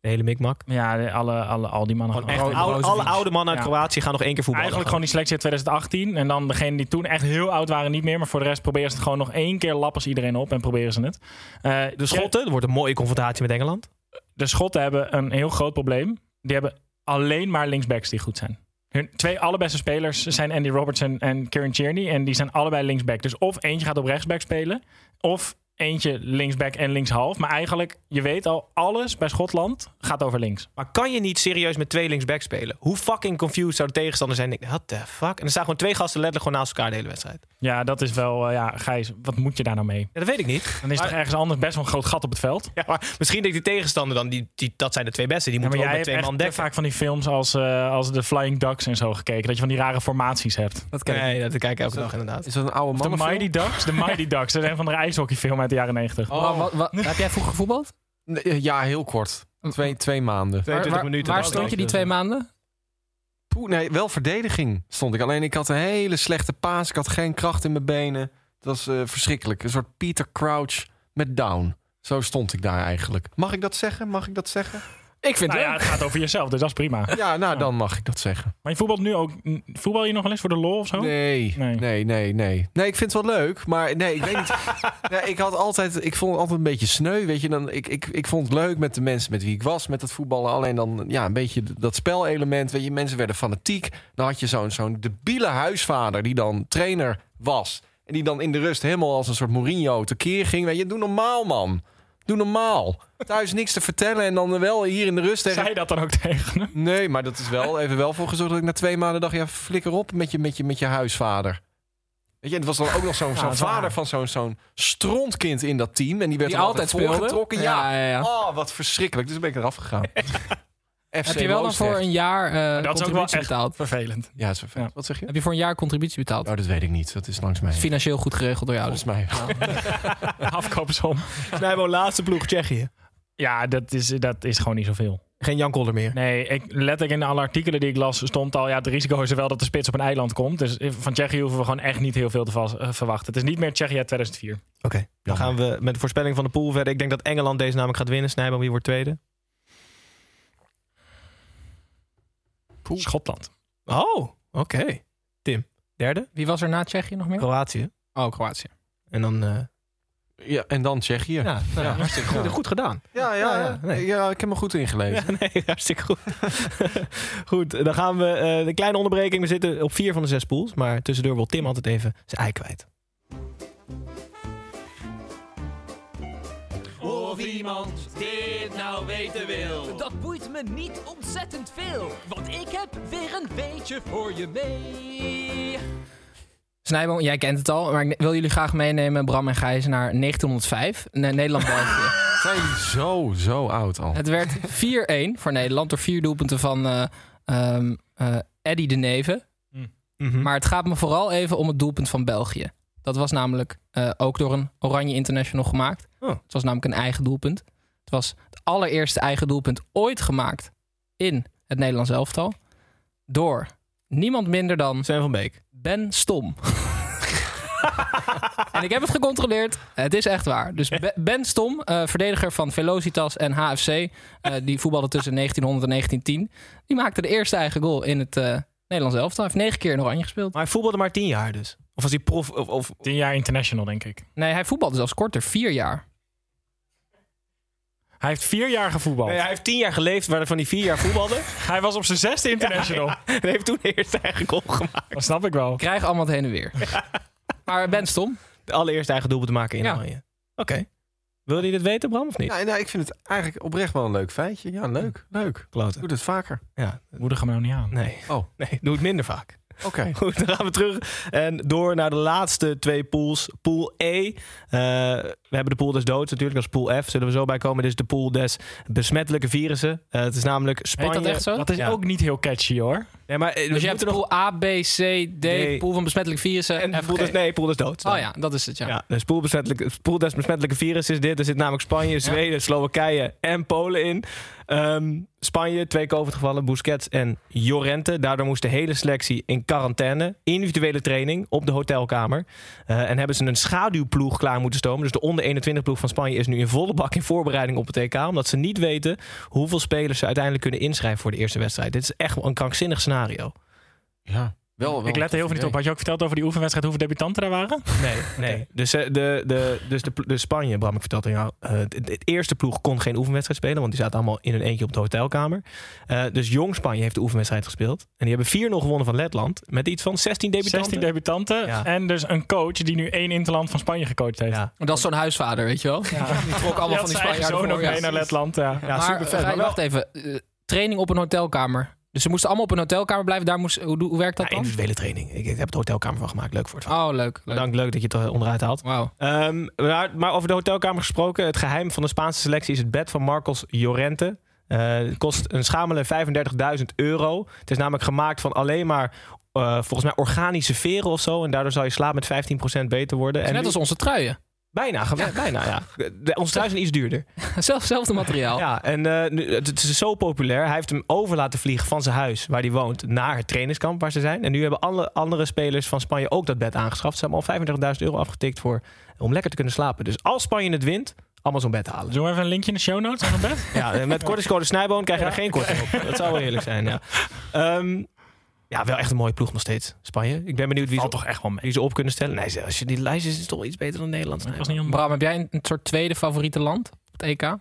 S1: De hele mikmak.
S7: Ja, de- alle, alle, al die mannen.
S1: Gewoon
S7: gaan-
S1: echt
S7: Ro-
S1: oude-
S7: Brozovic.
S1: alle oude mannen uit
S7: Ja.
S1: Kroatië gaan nog één keer voetballen.
S7: Eigenlijk gewoon die selectie uit 2018. En dan degene die toen echt heel oud waren niet meer. Maar voor de rest proberen ze het gewoon nog één keer lappen ze iedereen op. En proberen ze het. Eh,
S1: de Schotten, er wordt een mooie confrontatie met Engeland.
S7: de Schotten hebben een heel groot probleem. Die hebben alleen maar linksbacks die goed zijn. Hun twee allerbeste spelers zijn Andy Robertson en Kieran Tierney. En die zijn allebei linksback. Dus of eentje gaat op rechtsback spelen. Of eentje linksback en linkshalf. Maar eigenlijk, je weet al, alles bij Schotland gaat over links.
S1: Maar kan je niet serieus met twee linksback spelen? Hoe fucking confused zou de tegenstander zijn? Ik denk, what the fuck? En er staan gewoon twee gasten letterlijk gewoon naast elkaar de hele wedstrijd.
S7: Ja, dat is wel... eh, ja, Gijs, wat moet je daar nou mee?
S1: Ja, dat weet ik niet.
S7: Dan is toch ergens anders best wel een groot gat op het veld?
S1: Ja, maar misschien denkt die tegenstander dan, die, die, dat zijn de twee beste. Die
S7: Ja, maar
S1: moeten
S7: jij
S1: wel met
S7: hebt
S1: twee
S7: echt
S1: man
S7: te
S1: dekken.
S7: vaak van die films als, eh, als de Flying Ducks en zo gekeken. Dat je van die rare formaties hebt.
S5: Dat ken ik.
S1: Nee, dat kijk ik elke dag inderdaad.
S5: Is dat een oude
S7: De
S5: man?
S7: Mighty Ducks? De Mighty Ducks. Dat is een van de ijshockeyfilm uit de jaren 90.
S6: Wa-
S5: Oh.
S6: wa- wa- heb jij vroeger gevoetbald?
S5: Ja, heel kort. Twee, twee maanden.
S1: 22
S6: Waar- waar,
S1: minuten.
S6: Waar
S1: dat
S6: stond
S1: is
S6: je die
S1: dus-
S6: twee maanden?
S5: Poeh, nee, wel verdediging stond ik. Alleen ik had een hele slechte paas. Ik had geen kracht in mijn benen. Dat was eh, verschrikkelijk. Een soort Peter Crouch met down. Zo stond ik daar eigenlijk. Mag ik dat zeggen? Mag ik dat zeggen?
S6: Ik vind
S7: Nou
S6: het
S7: ja, het gaat over jezelf, dus dat is prima.
S5: Ja, nou dan mag ik dat zeggen.
S7: Maar je voetbalt nu ook. Voetbal je nog wel eens voor de lol of zo?
S5: Nee,
S7: Nee.
S5: nee, nee, nee, nee. ik vind het wel leuk, maar nee, ik weet niet. Nee, ik had altijd, ik vond het altijd een beetje sneu, weet je. Dan, ik, ik, ik vond het leuk met de mensen met wie ik was, met dat voetballen. Alleen dan, ja, een beetje dat spelelement, weet je. Mensen werden fanatiek. Dan had je zo'n zo'n debiele huisvader die dan trainer was. En die dan in de rust helemaal als een soort Mourinho tekeer ging. Weet je, doe normaal, man. Doe normaal. Thuis niks te vertellen en dan wel hier in de rust tegen...
S7: Zei je dat dan ook tegen hem?
S5: Nee, maar dat is wel even wel voor gezorgd dat ik na twee maanden dacht... ja, flikker op met je, met je, met je huisvader. Weet je, en het was dan ook nog zo'n zo'n
S7: dat is
S5: vader
S7: waar.
S5: van zo'n zo'n strontkind in dat team. En die werd
S6: Die
S5: dan
S6: altijd speelde.
S5: voorgetrokken. Ja.
S6: Ja, ja, ja.
S5: Oh, wat verschrikkelijk. Dus ben ik eraf gegaan.
S6: Heb je wel dan voor een jaar eh,
S7: Dat is ook wel
S6: contributie
S7: echt
S6: betaald?
S7: vervelend.
S5: Ja, dat is vervelend.
S7: Ja.
S5: Wat zeg je?
S6: Heb je voor een jaar contributie betaald?
S5: Oh, dat weet ik niet. Dat is langs mij.
S6: Dat is financieel goed geregeld door jou.
S5: Volgens mij.
S7: Afkoopsom.
S1: Snijbo, laatste ploeg Tsjechië.
S7: Ja, dat is, dat is gewoon niet zoveel.
S1: Geen Jan Kolder meer.
S7: Nee, ik, letterlijk in alle artikelen die ik las stond al... ja, het risico is er wel dat de spits op een eiland komt. Dus van Tsjechië hoeven we gewoon echt niet heel veel te vas- eh, verwachten. Het is niet meer Tsjechië uit 2004.
S1: Oké, dan gaan we met de voorspelling van de pool verder. Ik denk dat Engeland deze namelijk gaat winnen. Snijbo, wie wordt tweede?
S7: Schotland.
S1: Oh, oké. Tim, derde?
S6: Wie was er na Tsjechië nog meer?
S1: Oh. Kroatië.
S6: Oh, Kroatië.
S1: En dan... eh,
S5: Ja, en dan Tsjechië. Ja,
S1: ja, nou, hartstikke goed, goed gedaan.
S5: ja, ja,
S1: ja, nee.
S5: ik heb me goed ingelezen.
S1: Ja, nee, hartstikke goed. goed, dan gaan we... eh, een kleine onderbreking. We zitten op vier van de zes pools. Maar tussendoor wil Tim altijd even zijn ei kwijt.
S9: Dat boeit me niet ontzettend veel, want ik heb weer een beetje voor je mee.
S6: Snijboom, jij kent het al, maar ik wil jullie graag meenemen, Bram en Gijs, naar 1905. Nee, Nederland-België.
S5: Zijn jullie zo, zo oud al.
S6: het werd 4-1 voor Nederland door vier doelpunten van eh ehm, eh, Eddy de Neve.
S1: Mhm. Hm?
S6: Maar het gaat me vooral even om het doelpunt van België. Dat was namelijk eh, ook door een Oranje International gemaakt.
S1: Oh.
S6: Het was namelijk een eigen doelpunt. Het was het allereerste eigen doelpunt ooit gemaakt in het Nederlands elftal. Door niemand minder dan
S1: Sven van Beek.
S6: Ben Stom. en ik heb het gecontroleerd. Het is echt waar. Dus Be- Ben Stom, eh, verdediger van Velocitas en HFC. eh, die voetbalde tussen 1900 en 1910. Die maakte de eerste eigen goal in het eh, Nederlands elftal. Hij heeft negen keer in oranje gespeeld.
S1: Maar hij voetbalde maar tien jaar dus. Of was hij prof... Of, of...
S7: 10 jaar international, denk ik.
S6: Nee, hij voetbalde zelfs korter. Vier jaar.
S7: Hij heeft vier jaar gevoetbald.
S1: Nee, hij heeft tien jaar geleefd, waarvan hij vier jaar voetbalde.
S7: Hij was op zijn zesde international.
S1: en hij heeft toen de eerste eigen goal gemaakt.
S7: Dat snap ik wel.
S6: Krijg allemaal het heen en weer. Maar Ben Stom. Dus
S1: De allereerste eigen doelpunt te maken in
S6: Ja.
S1: Oranje. Oké. Wilde je dit weten, Bram, of niet?
S5: Ja, nou, ik vind het eigenlijk oprecht wel een leuk feitje. Ja, leuk. Leuk.
S1: Kloten.
S5: Doe het vaker.
S1: Ja.
S7: Moedig hem nou niet aan.
S1: Nee.
S5: Oh.
S1: Nee, doe het minder vaak.
S5: Oké.
S1: Goed, dan gaan we terug en door naar de laatste twee pools. Pool E. Eh, we hebben de pool des doods natuurlijk als pool F. Zullen we zo bij komen. Dit is de pool des besmettelijke virussen. Eh, het is namelijk Spanje.
S6: Heet dat echt zo?
S7: Dat is
S1: Ja.
S7: ook niet heel catchy hoor.
S1: Nee, maar eh, we
S6: Dus je hebt
S1: moeten nog...
S6: pool A, B, C, D.
S1: Nee.
S6: Pool van besmettelijke virussen.
S1: En
S6: FG.
S1: pool des... Nee, pool des doods.
S6: E. Oh ja, dat is het, ja.
S1: Ja, dus pool, besmettelijke- pool des besmettelijke virus is dit. Er zit namelijk Spanje, Zweden, Slowakije en Polen in. Ehm, Spanje, twee COVID-gevallen, Busquets en Jorente. Daardoor moest de hele selectie in quarantaine. Individuele training op de hotelkamer. Eh, en hebben ze een schaduwploeg klaar moeten stomen. Dus de onder 21 ploeg van Spanje is nu in volle bak in voorbereiding op het EK. Omdat ze niet weten hoeveel spelers ze uiteindelijk kunnen inschrijven voor de eerste wedstrijd. Dit is echt wel een krankzinnig scenario.
S5: Ja. Wel, wel
S7: ik let er heel veel niet op. Had je ook verteld over die oefenwedstrijd hoeveel debutanten daar waren?
S1: Nee, nee. Dus, eh, de, de, dus de, plo- de Spanje, Bram, ik vertelde jou. eh, de- de- het eerste ploeg kon geen oefenwedstrijd spelen, want die zaten allemaal in een eentje op de hotelkamer. Eh, dus Jong Spanje heeft de oefenwedstrijd gespeeld. En die hebben 4-0 gewonnen van Letland. Met iets van 16 debutanten.
S7: 16 debutanten.
S1: Ja.
S7: En dus een coach die nu één interland van Spanje gecoacht heeft.
S1: Ja.
S6: Maar Dat is zo'n huisvader, weet je wel. Die trok allemaal
S7: Die
S6: van die
S7: had zijn eigen
S6: Spanjaarden
S7: zoon
S6: voor,
S7: ook
S6: ja.
S7: mee naar Letland. Ja.
S1: Ja,
S6: maar,
S1: supervet,
S6: eh,
S1: maar wel-
S6: wacht even. Eh, training op een hotelkamer. Dus ze moesten allemaal op een hotelkamer blijven. Daar moest, hoe, hoe werkt dat
S1: Ja,
S6: dan?
S1: individuele training. Ik, ik heb de hotelkamer van gemaakt. Leuk voor het verhaal.
S6: Oh, leuk. leuk.
S1: Bedankt, leuk dat je het er onderuit haalt.
S6: Wauw.
S1: Ehm, maar, maar over de hotelkamer gesproken. Het geheim van de Spaanse selectie is het bed van Marcos Llorente. Eh, het kost een schamele 35.000 euro. Het is namelijk gemaakt van alleen maar, eh, volgens mij, organische veren of zo. En daardoor zal je slaap met 15% beter worden. En
S6: Net
S1: nu-
S6: als onze truien.
S1: Bijna, ge- bijna ja. De, ons thuis is iets duurder.
S6: Hetzelfde materiaal.
S1: Ja, en eh, nu- het, het is zo populair. Hij heeft hem over laten vliegen van zijn huis, waar hij woont, naar het trainingskamp waar ze zijn. En nu hebben alle andere spelers van Spanje ook dat bed aangeschaft. Ze hebben al 35.000 euro afgetikt voor, om lekker te kunnen slapen. Dus als Spanje het wint, allemaal zo'n bed halen.
S7: Doen we even een linkje in de show notes aan het bed?
S1: Ja, en met kortingscode Snijboon krijg je daar geen korting op. Dat zou wel eerlijk zijn, ja. Ehm, ja, wel echt een mooie ploeg nog steeds, Spanje. Ik ben benieuwd wie ze,
S7: Valt toch echt wel mee.
S1: wie ze op kunnen stellen. Nee, als je die lijst is, is het toch iets beter dan Nederland.
S7: Ik was niet om...
S6: Bram, heb jij een, een soort tweede favoriete land op het EK?
S1: Oh.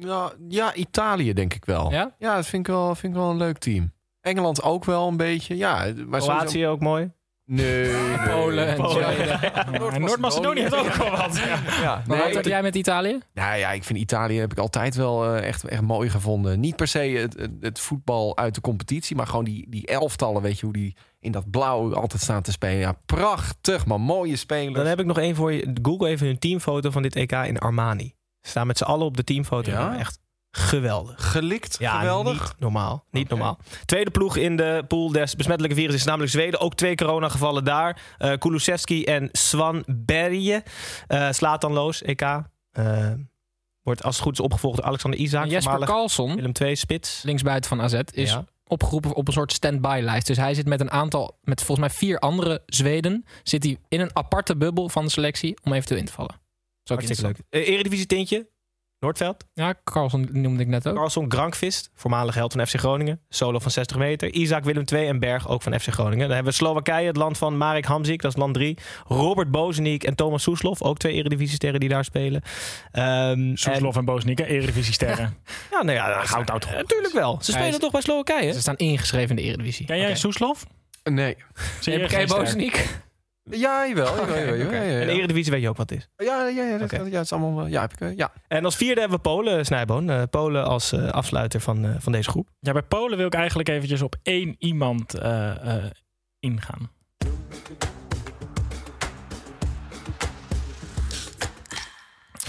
S5: Ja, ja, Italië denk ik wel.
S6: Ja?
S5: Ja, dat vind ik wel, vind ik wel een leuk team. Engeland ook wel een beetje. Ja, maar sowieso-
S1: Kroatië ook mooi.
S5: Nee, nee.
S6: Polen en
S1: Polen.
S6: Tsjechië.
S7: En Noord-Macedonië heeft ook wel wat. Ja.
S5: Ja,
S6: Maar
S5: nee,
S6: wat heb jij met Italië?
S5: Nou ja, ik vind Italië heb ik altijd wel eh, echt, echt mooi gevonden. Niet per se het, het, het voetbal uit de competitie, maar gewoon die, die elftallen, weet je, hoe die in dat blauw altijd staan te spelen. Ja, prachtig, maar mooie spelers.
S1: Dan heb ik nog één voor je. Google even hun teamfoto van dit EK in Armani. Ze staan met z'n allen op de teamfoto.
S5: Ja?
S1: Nou, Echt geweldig.
S5: Gelikt,
S1: Ja,
S5: geweldig.
S1: niet normaal. Niet
S5: Oké.
S1: normaal. Tweede ploeg in de pool des besmettelijke virus is namelijk Zweden. Ook twee coronagevallen daar. Eh Kulusevski en Swan Berje. Eh Slatanloos, EK. Eh, wordt als het goed is opgevolgd door Alexander Isaac.
S6: Jesper
S1: voormalig
S6: Karlsson,
S1: Willem II spits.
S6: linksbuiten van AZ, is
S1: Ja.
S6: opgeroepen op een soort stand-by lijst. Dus hij zit met een aantal, met volgens mij vier andere Zweden, zit hij in een aparte bubbel van de selectie om eventueel in te vallen. Zo
S1: Hartstikke leuk. Eh, Eredivisie tintje. Noordveld.
S6: Ja, Karlsson noemde ik net ook.
S1: Carlson Grankvist, voormalig held van FC Groningen. Solo van 60 meter. Isaac Willem II en Berg, ook van FC Groningen. Dan hebben we Slowakije, het land van Marek Hamzik, dat is land 3. Robert Bozeniek en Thomas Soeslof, ook twee eredivisiesterren die daar spelen. Ehm
S7: Soeslof en Boosnieken, Eredivisie-sterren.
S1: en- ja, nou ja, goud uit. Natuurlijk wel. Ze spelen
S6: is-
S1: toch bij Slowakije?
S6: Ze staan ingeschreven in de Eredivisie.
S7: Ken jij
S6: Oké.
S7: Soeslof?
S5: Nee.
S7: Zie
S6: Heb
S7: je
S6: ik
S7: geen
S6: geen
S7: ster?
S6: Bozeniek?
S5: Ja, jawel. jawel, jawel, jawel,
S1: Oké.
S5: ja,
S1: En
S5: ja, ja.
S1: eredivisie weet je ook wat het is.
S5: Ja, ja, ja, dat,
S1: Oké.
S5: ja, het is allemaal wel. Ja, heb ik. eh, Ja.
S1: En als vierde hebben we Polen, Snijboon. Eh, Polen als eh, afsluiter van, eh, van deze groep.
S7: Ja, bij Polen wil ik eigenlijk eventjes op één iemand eh, eh, ingaan.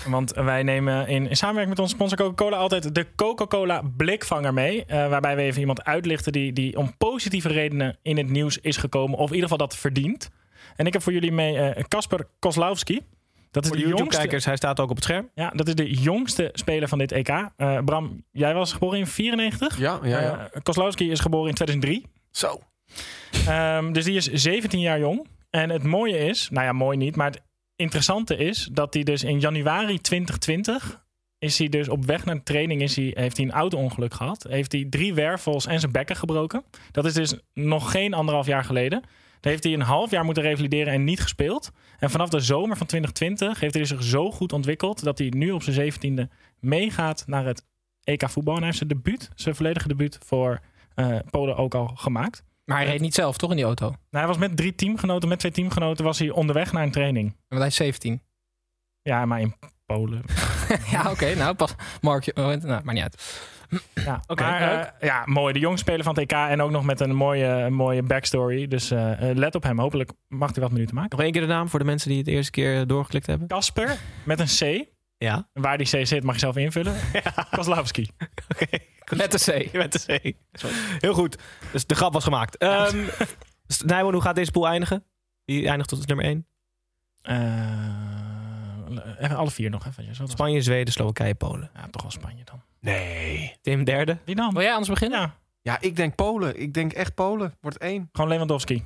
S7: Want wij nemen in, in samenwerking met onze sponsor Coca-Cola altijd de Coca-Cola blikvanger mee. eh, waarbij we even iemand uitlichten die, die om positieve redenen in het nieuws is gekomen. Of in ieder geval dat verdient. En ik heb voor jullie mee eh, Kasper Koslowski. Dat is
S1: Voor
S7: de
S1: de
S7: jongste
S1: YouTube-kijkers, hij staat ook op het scherm.
S7: ja, dat is de jongste speler van dit EK. Eh, Bram, jij was geboren in 94.
S5: Ja, ja, ja.
S7: Eh, Kozlowski is geboren in 2003.
S5: Zo.
S7: Ehm, dus die is 17 jaar jong. En het mooie is, nou ja, mooi niet, maar het interessante is dat hij dus in januari 2020 is hij dus op weg naar de training is hij, heeft hij een auto-ongeluk gehad. Heeft hij drie wervels en zijn bekken gebroken. Dat is dus nog geen anderhalf jaar geleden. Daar heeft hij een half jaar moeten revalideren en niet gespeeld. En vanaf de zomer van 2020 heeft hij zich zo goed ontwikkeld... dat hij nu op zijn zeventiende meegaat naar het EK voetbal. En hij heeft zijn debuut, zijn volledige debuut voor eh, Polen ook al gemaakt.
S6: Maar hij reed niet zelf, toch, in die auto?
S7: Nou, hij was met drie teamgenoten, met twee teamgenoten was hij onderweg naar een training.
S6: Want hij is 17.
S7: Ja, maar in Polen.
S6: ja, oké. nou, pas. Mark, eh, nou, maar niet uit.
S7: Ja,
S1: Oké,
S7: maar, eh, ja mooi. De jongspeler van het EK en ook nog met een mooie, een mooie backstory. Dus eh, eh, let op hem. Hopelijk mag hij wat minuten maken.
S1: Nog één keer de naam voor de mensen die het eerste keer doorgeklikt hebben.
S7: Kasper met een C.
S1: Ja.
S7: Waar die C zit mag je zelf invullen. Kozlowski.
S1: Oké.
S6: Met de C.
S1: Je bent de C. Heel goed. Dus de grap was gemaakt. Ehm S- Nijman, hoe gaat deze pool eindigen? Wie eindigt tot nummer 1?
S7: Eh, even alle vier nog eventjes. Dat was-
S1: Spanje, Zweden, Slowakije, Polen.
S7: Ja, toch wel Spanje dan.
S5: Nee.
S1: Tim derde.
S7: Wie dan?
S6: Wil jij anders beginnen?
S7: Ja,
S5: Ja, ik denk Polen. Ik denk echt Polen. Wordt één.
S7: gewoon Lewandowski.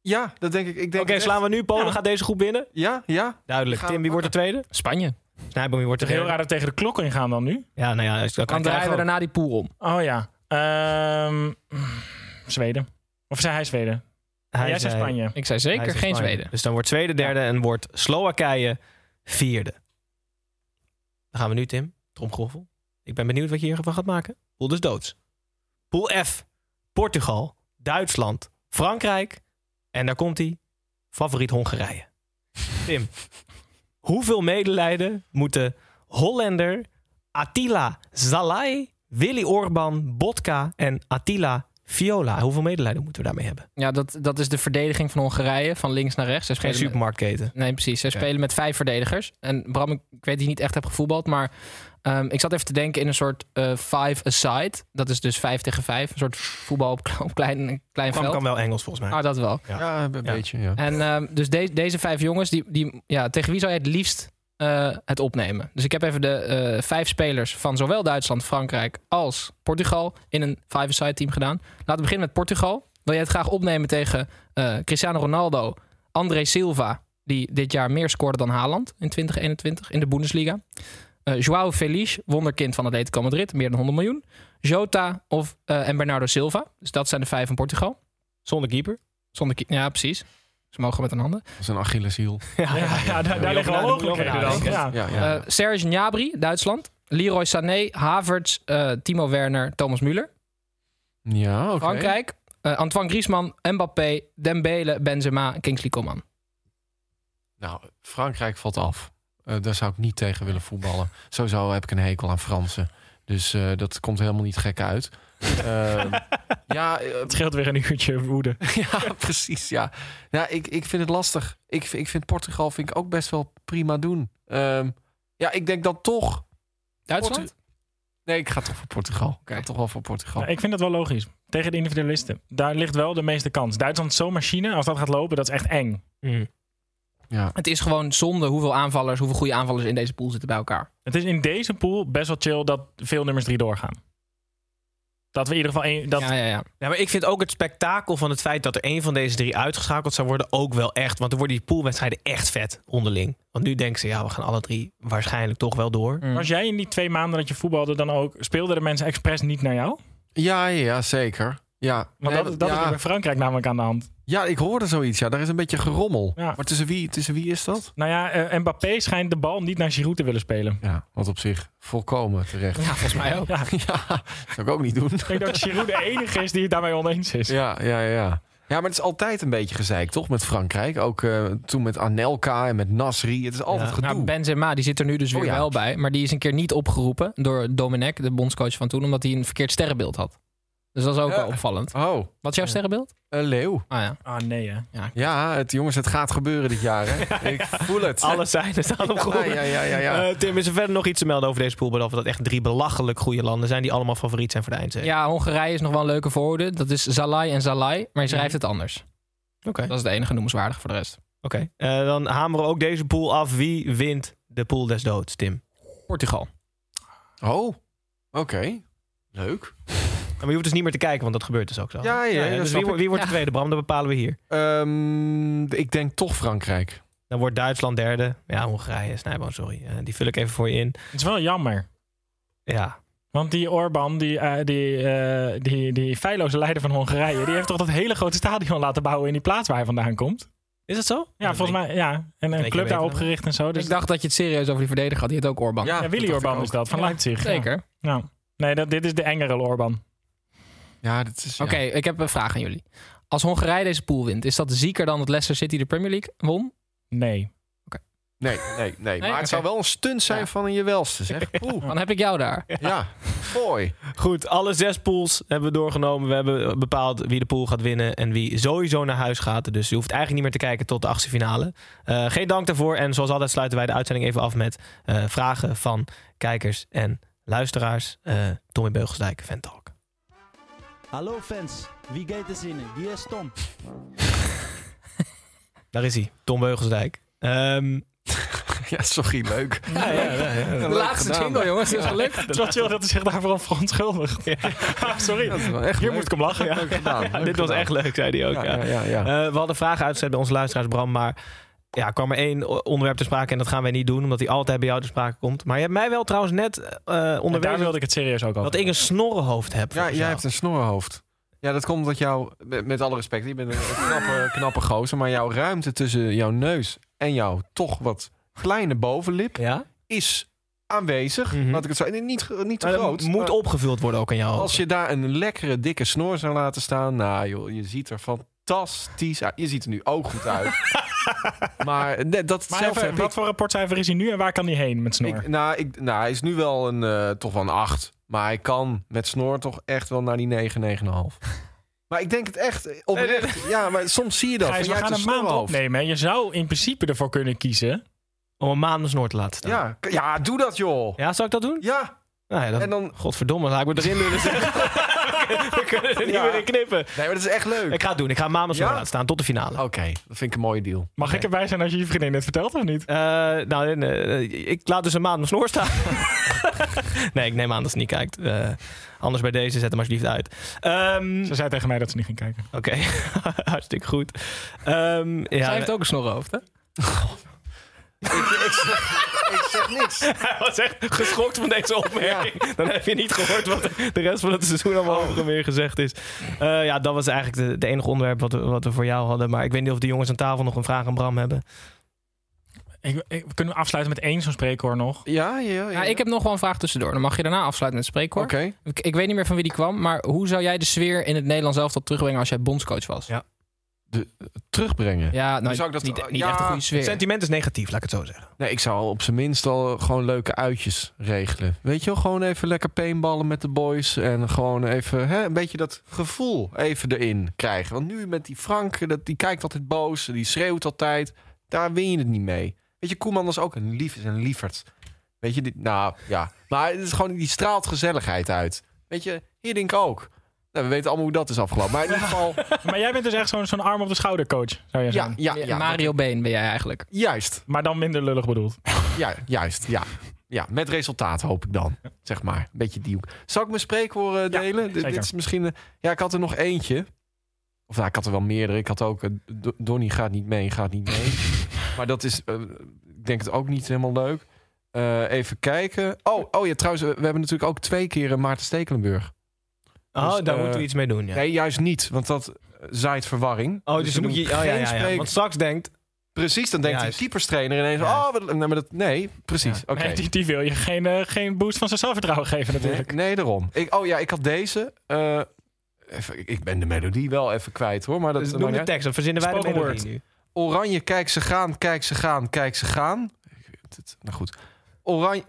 S5: Ja, dat denk ik. ik denk
S1: Oké,
S5: het echt.
S1: slaan we nu. Polen
S7: Ja.
S1: gaat deze groep winnen.
S5: Ja, ja.
S1: Duidelijk.
S5: Gaan we
S1: Tim, wie wordt de tweede?
S6: Spanje.
S1: Snijboom, wie wordt de
S7: Het is
S1: derde?
S7: heel raar dat we tegen de klok ingaan dan nu.
S1: Ja, nou ja. dus dat
S6: Dan
S1: kan
S6: draaien we
S1: krijgen
S6: daarna die pool om.
S7: Oh ja. Ehm, Zweden. Of zei hij Zweden?
S1: ook. Hij
S7: Jij zei Spanje.
S6: Ik zei
S1: hij
S6: zeker
S1: zei
S6: geen
S1: Spanje.
S6: Zweden.
S1: Dus dan wordt Zweden derde en wordt Slowakije vierde. Dan gaan we nu, Tim. Tromgroffel. Ik ben benieuwd wat je hiervan gaat maken. Pool dus doods. Pool F. Portugal, Duitsland, Frankrijk. En daar komt hij. Favoriet Hongarije. Tim. Hoeveel medelijden moeten Hollander, Attila Zalai, Willy Orban, Botka en Attila Viola? Hoeveel medelijden moeten we daarmee hebben?
S6: Ja, dat, dat is de verdediging van Hongarije, van links naar rechts. Dus Ze
S1: Geen
S6: spelen met-
S1: supermarktketen.
S6: Nee, precies. Ze
S1: Ja.
S6: spelen met vijf verdedigers. En Bram, ik ik weet dat je niet echt hebt gevoetbald, maar ehm, ik zat even te denken in een soort eh five-a-side. Dat is dus vijf tegen vijf. Een soort voetbal op, op klein, klein
S1: Bram
S6: veld.
S1: kan wel Engels volgens mij.
S6: Ah, dat wel.
S5: Ja,
S1: Ja.
S5: een beetje, ja.
S6: En ehm, dus de- deze vijf jongens, die, die, ja, tegen wie zou jij het liefst eh, het opnemen? Dus ik heb even de eh, vijf spelers van zowel Duitsland, Frankrijk als Portugal in een five-a-side team gedaan. Laten we beginnen met Portugal. Wil jij het graag opnemen tegen eh, Cristiano Ronaldo, André Silva, die dit jaar meer scoorde dan Haaland in 2021 in de Bundesliga? Eh Joao Feliz, wonderkind van Atletico Madrid, meer dan 100 miljoen. Jota of, eh, en Bernardo Silva. Dus dat zijn de vijf van Portugal.
S1: Zonder keeper.
S6: Zonder ki- ja, precies. Ze mogen met hun handen.
S5: Dat is een Achilleshiel.
S7: Ja, ja, daar, daar liggen wel
S1: Daar moet je over
S7: mogelijkheden
S1: nadenken.
S7: dan. Ja.
S5: Ja, ja.
S6: Eh, Serge Gnabry, Duitsland. Leroy Sané, Havertz, eh, Timo Werner, Thomas Müller.
S5: ja oké.
S6: Frankrijk, eh, eh, Antoine Griezmann, Mbappé, Dembele, Benzema, Kingsley Coman.
S5: Nou, Frankrijk valt af. Eh, daar zou ik niet tegen willen voetballen. Sowieso heb ik een hekel aan Fransen. Dus eh, dat komt helemaal niet gek uit. Ehm, ja, eh,
S7: Het scheelt weer een uurtje woede.
S5: ja, precies. Ja, ja ik, ik vind het lastig. Ik, v- ik vind Portugal vind ik ook best wel prima doen. Ehm, ja, ik denk dat toch.
S6: Duitsland?
S5: Nee, ik ga toch voor Portugal. Ik ga
S6: Oké.
S5: toch wel voor Portugal.
S6: Oh.
S7: Nou, ik vind dat wel logisch. Tegen de individualisten. Daar ligt wel de meeste kans. Duitsland is zo'n machine. Als dat gaat lopen, dat is echt eng.
S5: Ja.
S6: Het is gewoon zonde hoeveel aanvallers, hoeveel goede aanvallers in deze pool zitten bij elkaar.
S7: Het is in deze pool best wel chill dat veel nummers drie doorgaan. Dat we in ieder geval... één dat,
S6: Ja, ja, ja.
S1: Ja, maar ik vind ook het spektakel van het feit dat er één van deze drie uitgeschakeld zou worden ook wel echt. Want dan worden die poolwedstrijden echt vet onderling. Want nu denken ze, ja, we gaan alle drie waarschijnlijk toch wel door.
S6: Mm.
S7: Was jij in die twee maanden dat je voetbalde dan ook... Speelden de mensen expres niet naar jou?
S5: Ja, ja, zeker. Ja,
S7: Want
S5: Nee,
S7: dat, dat is
S5: ja.
S7: er bij Frankrijk namelijk aan de hand.
S5: ja, ik hoorde zoiets. Ja, daar is een beetje gerommel.
S7: Ja.
S5: Maar tussen wie, tussen wie is dat?
S7: Nou ja, eh, Mbappé schijnt de bal niet naar Giroud te willen spelen.
S5: Ja, wat op zich volkomen terecht.
S6: Ja, volgens mij ook.
S7: Ja,
S5: Ja, zou ik ook niet doen.
S7: ik denk dat Giroud de enige is die het daarmee oneens is.
S5: Ja, ja, ja. Ja, maar het is altijd een beetje gezeik, toch? Met Frankrijk. Ook eh, toen met Anelka en met Nasri. Het is altijd
S1: Ja.
S5: gedoe.
S6: Nou, Benzema die zit er nu dus weer
S5: Oh ja.
S6: wel bij. Maar die is een keer niet opgeroepen door Domenech, de bondscoach van toen, omdat hij een verkeerd sterrenbeeld had. Dus dat is ook
S5: Ja.
S6: wel opvallend.
S5: Oh,
S6: Wat is jouw sterrenbeeld?
S5: een leeuw.
S6: Ah ja.
S7: Ah nee hè.
S5: Ja, het, jongens, het gaat gebeuren dit jaar. Hè? Ik voel het.
S1: Alle zijn het aan hem
S5: ja, ja, ja, ja, ja.
S1: Eh, Tim, is er verder nog iets te melden over deze pool? Behalve dat echt drie belachelijk goede landen zijn die allemaal favoriet zijn voor de eindzege.
S6: Ja, Hongarije is nog wel een leuke voorhoede. Dat is Zalai en Zalai,
S5: Mhm.
S6: maar je schrijft het anders.
S1: Oké.
S6: Dat is de enige noemenswaardig voor de rest.
S1: Oké. Eh, dan hameren we ook deze pool af. Wie wint de pool des doods, Tim?
S6: Portugal.
S7: Eh.
S5: Oh, oké. Leuk.
S1: Maar je hoeft dus niet meer te kijken, want dat gebeurt dus ook zo.
S5: Ja, ja, dat
S1: dus
S5: snap
S1: wie, wo-
S5: ik.
S1: wie wordt de
S6: Ja.
S1: tweede, Bram? Dat bepalen we hier.
S5: Ehm, ik denk toch Frankrijk.
S1: Dan wordt Duitsland derde. Ja, Hongarije, Snijboon, sorry. Eh, die vul ik even voor je in.
S7: Het is wel jammer.
S1: Ja.
S7: Want die Orbán, die, eh, die, eh, die, die feilloze leider van Hongarije, die heeft toch dat hele grote stadion laten bouwen in die plaats waar hij vandaan komt?
S1: Is dat zo?
S7: Ja, volgens mij, ja. En
S1: ik
S7: een
S1: je
S7: club daar
S1: weten.
S7: opgericht en zo. Dus
S6: ik dacht dat je het serieus over die verdediger had. Die heet ook Orban.
S7: ja, Willy Orbán is dat, van
S6: Ja,
S7: Leipzig. ja.
S6: Zeker.
S7: Ja. Nee, dat, dit is de engere Orbán.
S5: Ja, dat is... ja.
S6: Oké, ik heb een vraag aan jullie. Als Hongarije deze pool wint, is dat zieker dan dat Leicester City de Premier League won?
S7: Nee.
S5: Nee, nee, nee. maar
S6: oké.
S5: het zou wel een stunt zijn
S6: Ja.
S5: van een je welste, zeg. Oeh,
S6: Dan heb ik jou daar.
S5: ja. Mooi.
S1: Goed, alle zes pools hebben we doorgenomen. We hebben bepaald wie de pool gaat winnen en wie sowieso naar huis gaat. Dus je hoeft eigenlijk niet meer te kijken tot de achtste finale. Eh, geen dank daarvoor. En zoals altijd sluiten wij de uitzending even af met eh, vragen van kijkers en luisteraars. Eh, Tommy Beugelsdijk, Ventalk.
S3: Hallo fans, wie gaat er zinnen? Hier is Tom.
S1: Daar is hij, Tom Beugelsdijk. Ehm,
S5: Ja, sorry, leuk.
S1: ja, ja, ja, ja.
S6: De
S5: Leuk
S6: laatste
S5: gedaan.
S6: jingle, jongens. Dat is gelukt.
S7: Het is wel chill dat hij zich daarvoor aan verontschuldigt. Ah, sorry.
S5: Dat is wel echt
S7: Hier
S5: leuk.
S7: moet ik hem lachen.
S5: Leuk gedaan.
S1: Ja,
S5: leuk
S1: dit was
S5: gedaan.
S1: echt leuk, zei hij ook.
S5: Ja,
S1: ja.
S5: ja, ja, ja.
S1: Eh, we hadden vragen uitgezet bij onze luisteraars, Bram. Maar ja, kwam er één o- onderwerp te sprake. En dat gaan wij niet doen, omdat die altijd bij jou te sprake komt. Maar je hebt mij wel trouwens net eh
S7: En daar
S1: onderwezen
S7: wilde ik het serieus ook over.
S1: dat ik een snorrenhoofd heb.
S5: Ja,
S1: volgens
S5: jij
S1: jou.
S5: hebt een snorhoofd. Ja, dat komt omdat jouw, met met alle respect, je bent een knappe, knappe gozer, maar jouw ruimte tussen jouw neus en jouw toch wat kleine bovenlip
S1: Ja?
S5: is aanwezig.
S1: Mhm.
S5: Laat ik het zo, en niet, gro- niet te
S1: Maar dat
S5: groot.
S1: moet
S5: maar
S1: opgevuld worden ook aan jou.
S5: Als je daar een lekkere, dikke snor zou laten staan, nou joh, je ziet er fantastisch uit. Je ziet er nu ook goed uit. maar nee, dat
S7: Maar
S5: zelf
S7: even,
S5: heb ik.
S7: wat voor rapportcijfer is hij nu en waar kan hij heen met snor?
S5: Ik- nou, ik, nou, hij is nu wel een, eh, toch wel een 8. Maar hij kan met snor toch echt wel naar die 9, 9,5. maar ik denk het echt eh, oprecht. Ja, maar soms zie je dat.
S7: Gijs,
S5: van,
S7: we
S5: jij
S7: gaan
S5: hebt
S7: een maand
S5: snorhoofd.
S7: opnemen. hè. Je zou in principe ervoor kunnen kiezen.
S1: Om een maand een snor te laten staan.
S5: Ja, k- ja, doe dat joh. Ja,
S1: Ja, zou ik dat doen? Nou ja, dan,
S5: en dan...
S1: Godverdomme, laat ik me erin willen zeggen. We kunnen er niet
S5: Ja.
S1: meer in knippen.
S5: Nee, maar dat is echt leuk.
S1: Ik ga het doen. Ik ga een maand een snor
S5: Ja?
S1: laten staan tot de finale.
S5: Oké, dat vind ik een mooie deal.
S7: Mag ik erbij zijn als je je vriendin het vertelt of niet?
S1: Eh, nou, en, eh, ik laat dus een maand mijn snor staan. nee, ik neem aan dat ze niet kijkt. Eh, anders bij deze, zet hem alsjeblieft uit. Ehm,
S7: Ze zei tegen mij dat ze niet ging kijken.
S1: Oké, hartstikke goed. Ehm, ja,
S6: Zij heeft ook een snorhoofd, hè?
S5: ik zeg niks.
S1: Hij was echt geschokt van deze opmerking. Dan heb je niet gehoord wat de rest van het seizoen allemaal over en weer gezegd is. Eh, ja, dat was eigenlijk de, de enige onderwerp wat we, wat we voor jou hadden. Maar ik weet niet of de jongens aan tafel nog een vraag aan Bram hebben.
S7: Ik, ik- kunnen we afsluiten met één zo'n spreekhoor nog?
S5: Ja, ja, ja.
S6: Ja, Nou, ik heb nog wel een vraag tussendoor. Dan mag je daarna afsluiten met het spreekwoord.
S5: Oké.
S6: Ik, ik weet niet meer van wie die kwam, maar hoe zou jij de sfeer in het Nederlands elftal terugbrengen als jij bondscoach was?
S1: Ja.
S6: Ja,
S5: Terugbrengen.
S6: nou,
S5: zou ik dat-
S6: niet, niet
S5: ja,
S6: echt een goede sfeer.
S1: Het sentiment is negatief, laat ik het zo zeggen.
S5: Nee, ik zou op zijn minst al gewoon leuke uitjes regelen. Weet je wel, gewoon even lekker paintballen met de boys. En gewoon even hè, een beetje dat gevoel even erin krijgen. Want nu met die Frank, dat, die kijkt altijd boos. Die schreeuwt altijd. Daar win je het niet mee. Weet je, Koeman was ook een lief, is een lieverd. Weet je, die, nou ja. Maar het is gewoon, die straalt gezelligheid uit. Weet je, Hiddink ook. Nou, we weten allemaal hoe dat is afgelopen. Maar in ieder geval,
S7: Maar jij bent dus echt zo'n zo'n arm op de schouder coach, zou jij
S5: ja,
S7: zeggen.
S5: ja, ja.
S6: Mario Been ben jij eigenlijk.
S5: Juist,
S7: Maar dan minder lullig bedoeld.
S5: Ja, juist, ja. Ja, met resultaat hoop ik dan, zeg maar. Een beetje die hoek. Zal ik mijn spreekwoord eh,
S7: Ja,
S5: delen? Dit-
S7: zeker.
S5: Dit is misschien... eh, ja, ik had er nog eentje. Of nou, ik had er wel meerdere. Ik had ook... eh, Do- Donnie gaat niet mee, gaat niet mee. maar dat is... eh, ik denk het ook niet helemaal leuk. Eh, even kijken. Oh, oh ja, trouwens, eh, we hebben natuurlijk ook twee keer eh, Maarten Stekelenburg.
S1: Oh,
S5: Dus,
S1: daar
S5: eh,
S1: moeten we iets mee doen, ja.
S5: Nee, juist niet, want dat eh, zaait verwarring.
S1: Oh, dus, dan
S5: we
S1: moet je...
S5: doen
S1: Oh, ja,
S5: geen
S1: ja, ja.
S5: spreek-
S1: Want straks denkt...
S5: Precies, dan denkt die
S1: Juist.
S5: keeperstrainer ineens...
S1: Ja.
S5: Oh, wat- nee, maar dat, nee, precies. Oké.
S7: Nee, die, die wil je geen, eh, geen boost van zijn zelfvertrouwen geven
S5: Nee,
S7: natuurlijk.
S5: nee, daarom. Ik, oh ja, ik had deze. eh, even, ik- ik ben de melodie wel even kwijt hoor. Maar dat,
S1: Dus
S5: maakt
S1: noem
S5: niet
S1: de
S5: uit.
S1: tekst, dan verzinnen wij de
S7: Spoken
S1: melodie
S7: word.
S1: nu.
S5: Oranje, kijk ze gaan, kijk ze gaan, kijk ze gaan. Ik- dit- Nou goed. Oranje.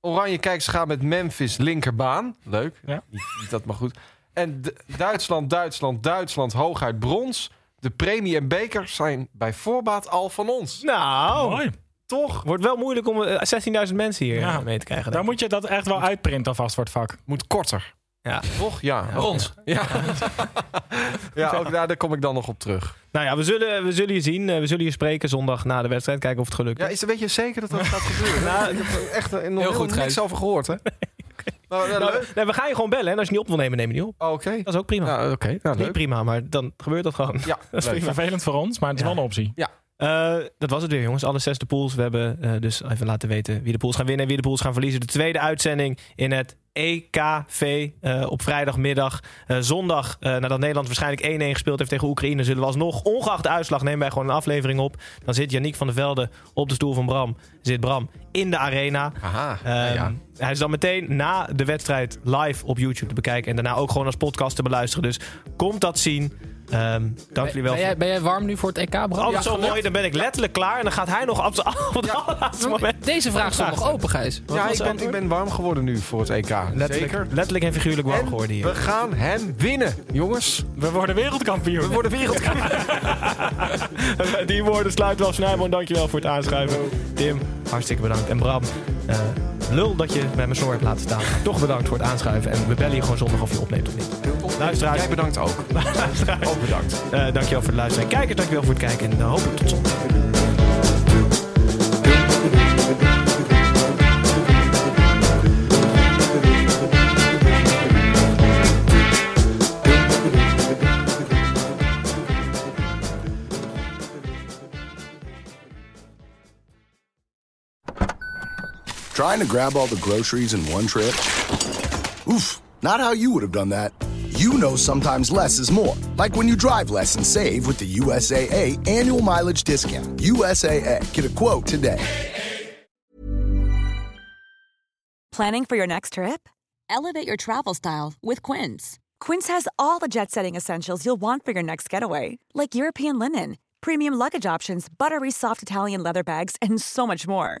S5: Oranje, kijk ze gaan met Memphis linkerbaan. Leuk.
S7: Ja.
S5: Niet, niet dat maar goed. En D- Duitsland, Duitsland, Duitsland, hooguit brons. De premie en beker zijn bij voorbaat al van ons.
S1: Nou,
S7: Mooi.
S1: toch. Wordt wel moeilijk om eh, 16.000 mensen hier
S7: Ja.
S1: eh, mee te krijgen.
S7: Daar moet je dat echt wel uitprinten alvast voor het vak.
S5: Moet korter.
S1: Ja.
S5: Toch? Ja.
S1: Brons.
S5: Ja, ja ook daar, daar kom ik dan nog op terug.
S1: Nou ja, we zullen, we zullen je zien. Eh, We zullen je spreken zondag na de wedstrijd. Kijken of het gelukt
S5: Ja,
S1: is.
S5: is er, weet je zeker dat dat gaat gebeuren?
S1: Nou,
S5: ik heb er echt eh, nog
S6: Heel
S5: helemaal
S6: goed,
S5: niks
S6: Gijs.
S5: over gehoord, hè? Maar, eh,
S1: Nou,
S5: leuk.
S1: nee, we gaan je gewoon bellen. En als je niet op wil nemen, neem je niet op.
S5: Oh, Oké.
S1: Dat is ook prima.
S5: Nou, oké. Nou,
S1: niet
S5: leuk.
S1: prima, maar dan gebeurt dat gewoon.
S5: Ja,
S1: is
S5: leuk.
S1: prima.
S7: Vervelend voor ons, maar het is
S1: Ja.
S7: wel een optie.
S1: Eh, dat was het weer, jongens. Alle zesde pools. We hebben eh, dus even laten weten wie de pools gaan winnen en wie de pools gaan verliezen. De tweede uitzending in het EKV eh, op vrijdagmiddag. Eh, zondag, eh, nadat Nederland waarschijnlijk 1-1 gespeeld heeft tegen Oekraïne, zullen we alsnog, ongeacht de uitslag, nemen wij gewoon een aflevering op. Dan zit Yannick van der Velde op de stoel van Bram. Zit Bram in de arena.
S5: Aha.
S1: Ehm,
S5: nou ja.
S1: Hij is dan meteen na de wedstrijd live op YouTube te bekijken. En daarna ook gewoon als podcast te beluisteren. Dus komt dat zien. Ehm, dank jullie wel.
S6: Ben, ben
S1: voor-
S6: jij, ben jij warm nu voor het EK, Bram?
S1: Altijd zo mooi, dan ben ik letterlijk klaar. En dan gaat hij nog op het allerlaatste moment.
S6: Deze vraag stond nog open, Gijs.
S5: ja ik, ben, ik ben warm geworden nu voor het EK.
S1: Letterlijk,
S5: Zeker.
S1: letterlijk en figuurlijk warm
S5: En
S1: geworden
S5: we
S1: hier.
S5: gaan hem winnen, jongens.
S7: We worden
S5: We
S7: wereldkampioen.
S5: worden wereldkampioen.
S1: Die woorden sluiten we af. Snijboon, dankjewel voor het aanschuiven. Tim, hartstikke bedankt. En Bram, eh, lul dat je bij mijn snor hebt laten staan. Toch bedankt voor het aanschuiven. En we bellen je gewoon zondag of je opneemt of niet. Luisteraars.
S5: Jij bedankt ook.
S1: Luisteraars,
S5: Ook bedankt.
S1: eh, dankjewel voor het luisteren. En kijkers, dankjewel voor het kijken. En eh, hopelijk tot zondag.
S10: Trying to grab all the groceries in one trip? Oof, not how you would have done that. You know sometimes less is more. Like when you drive less and save with the USAA annual mileage discount. USAA, get a quote today.
S11: Planning for your next trip? Elevate your travel style with Quince. Quince has all the jet setting essentials you'll want for your next getaway, like European linen, premium luggage options, buttery soft Italian leather bags, and so much more.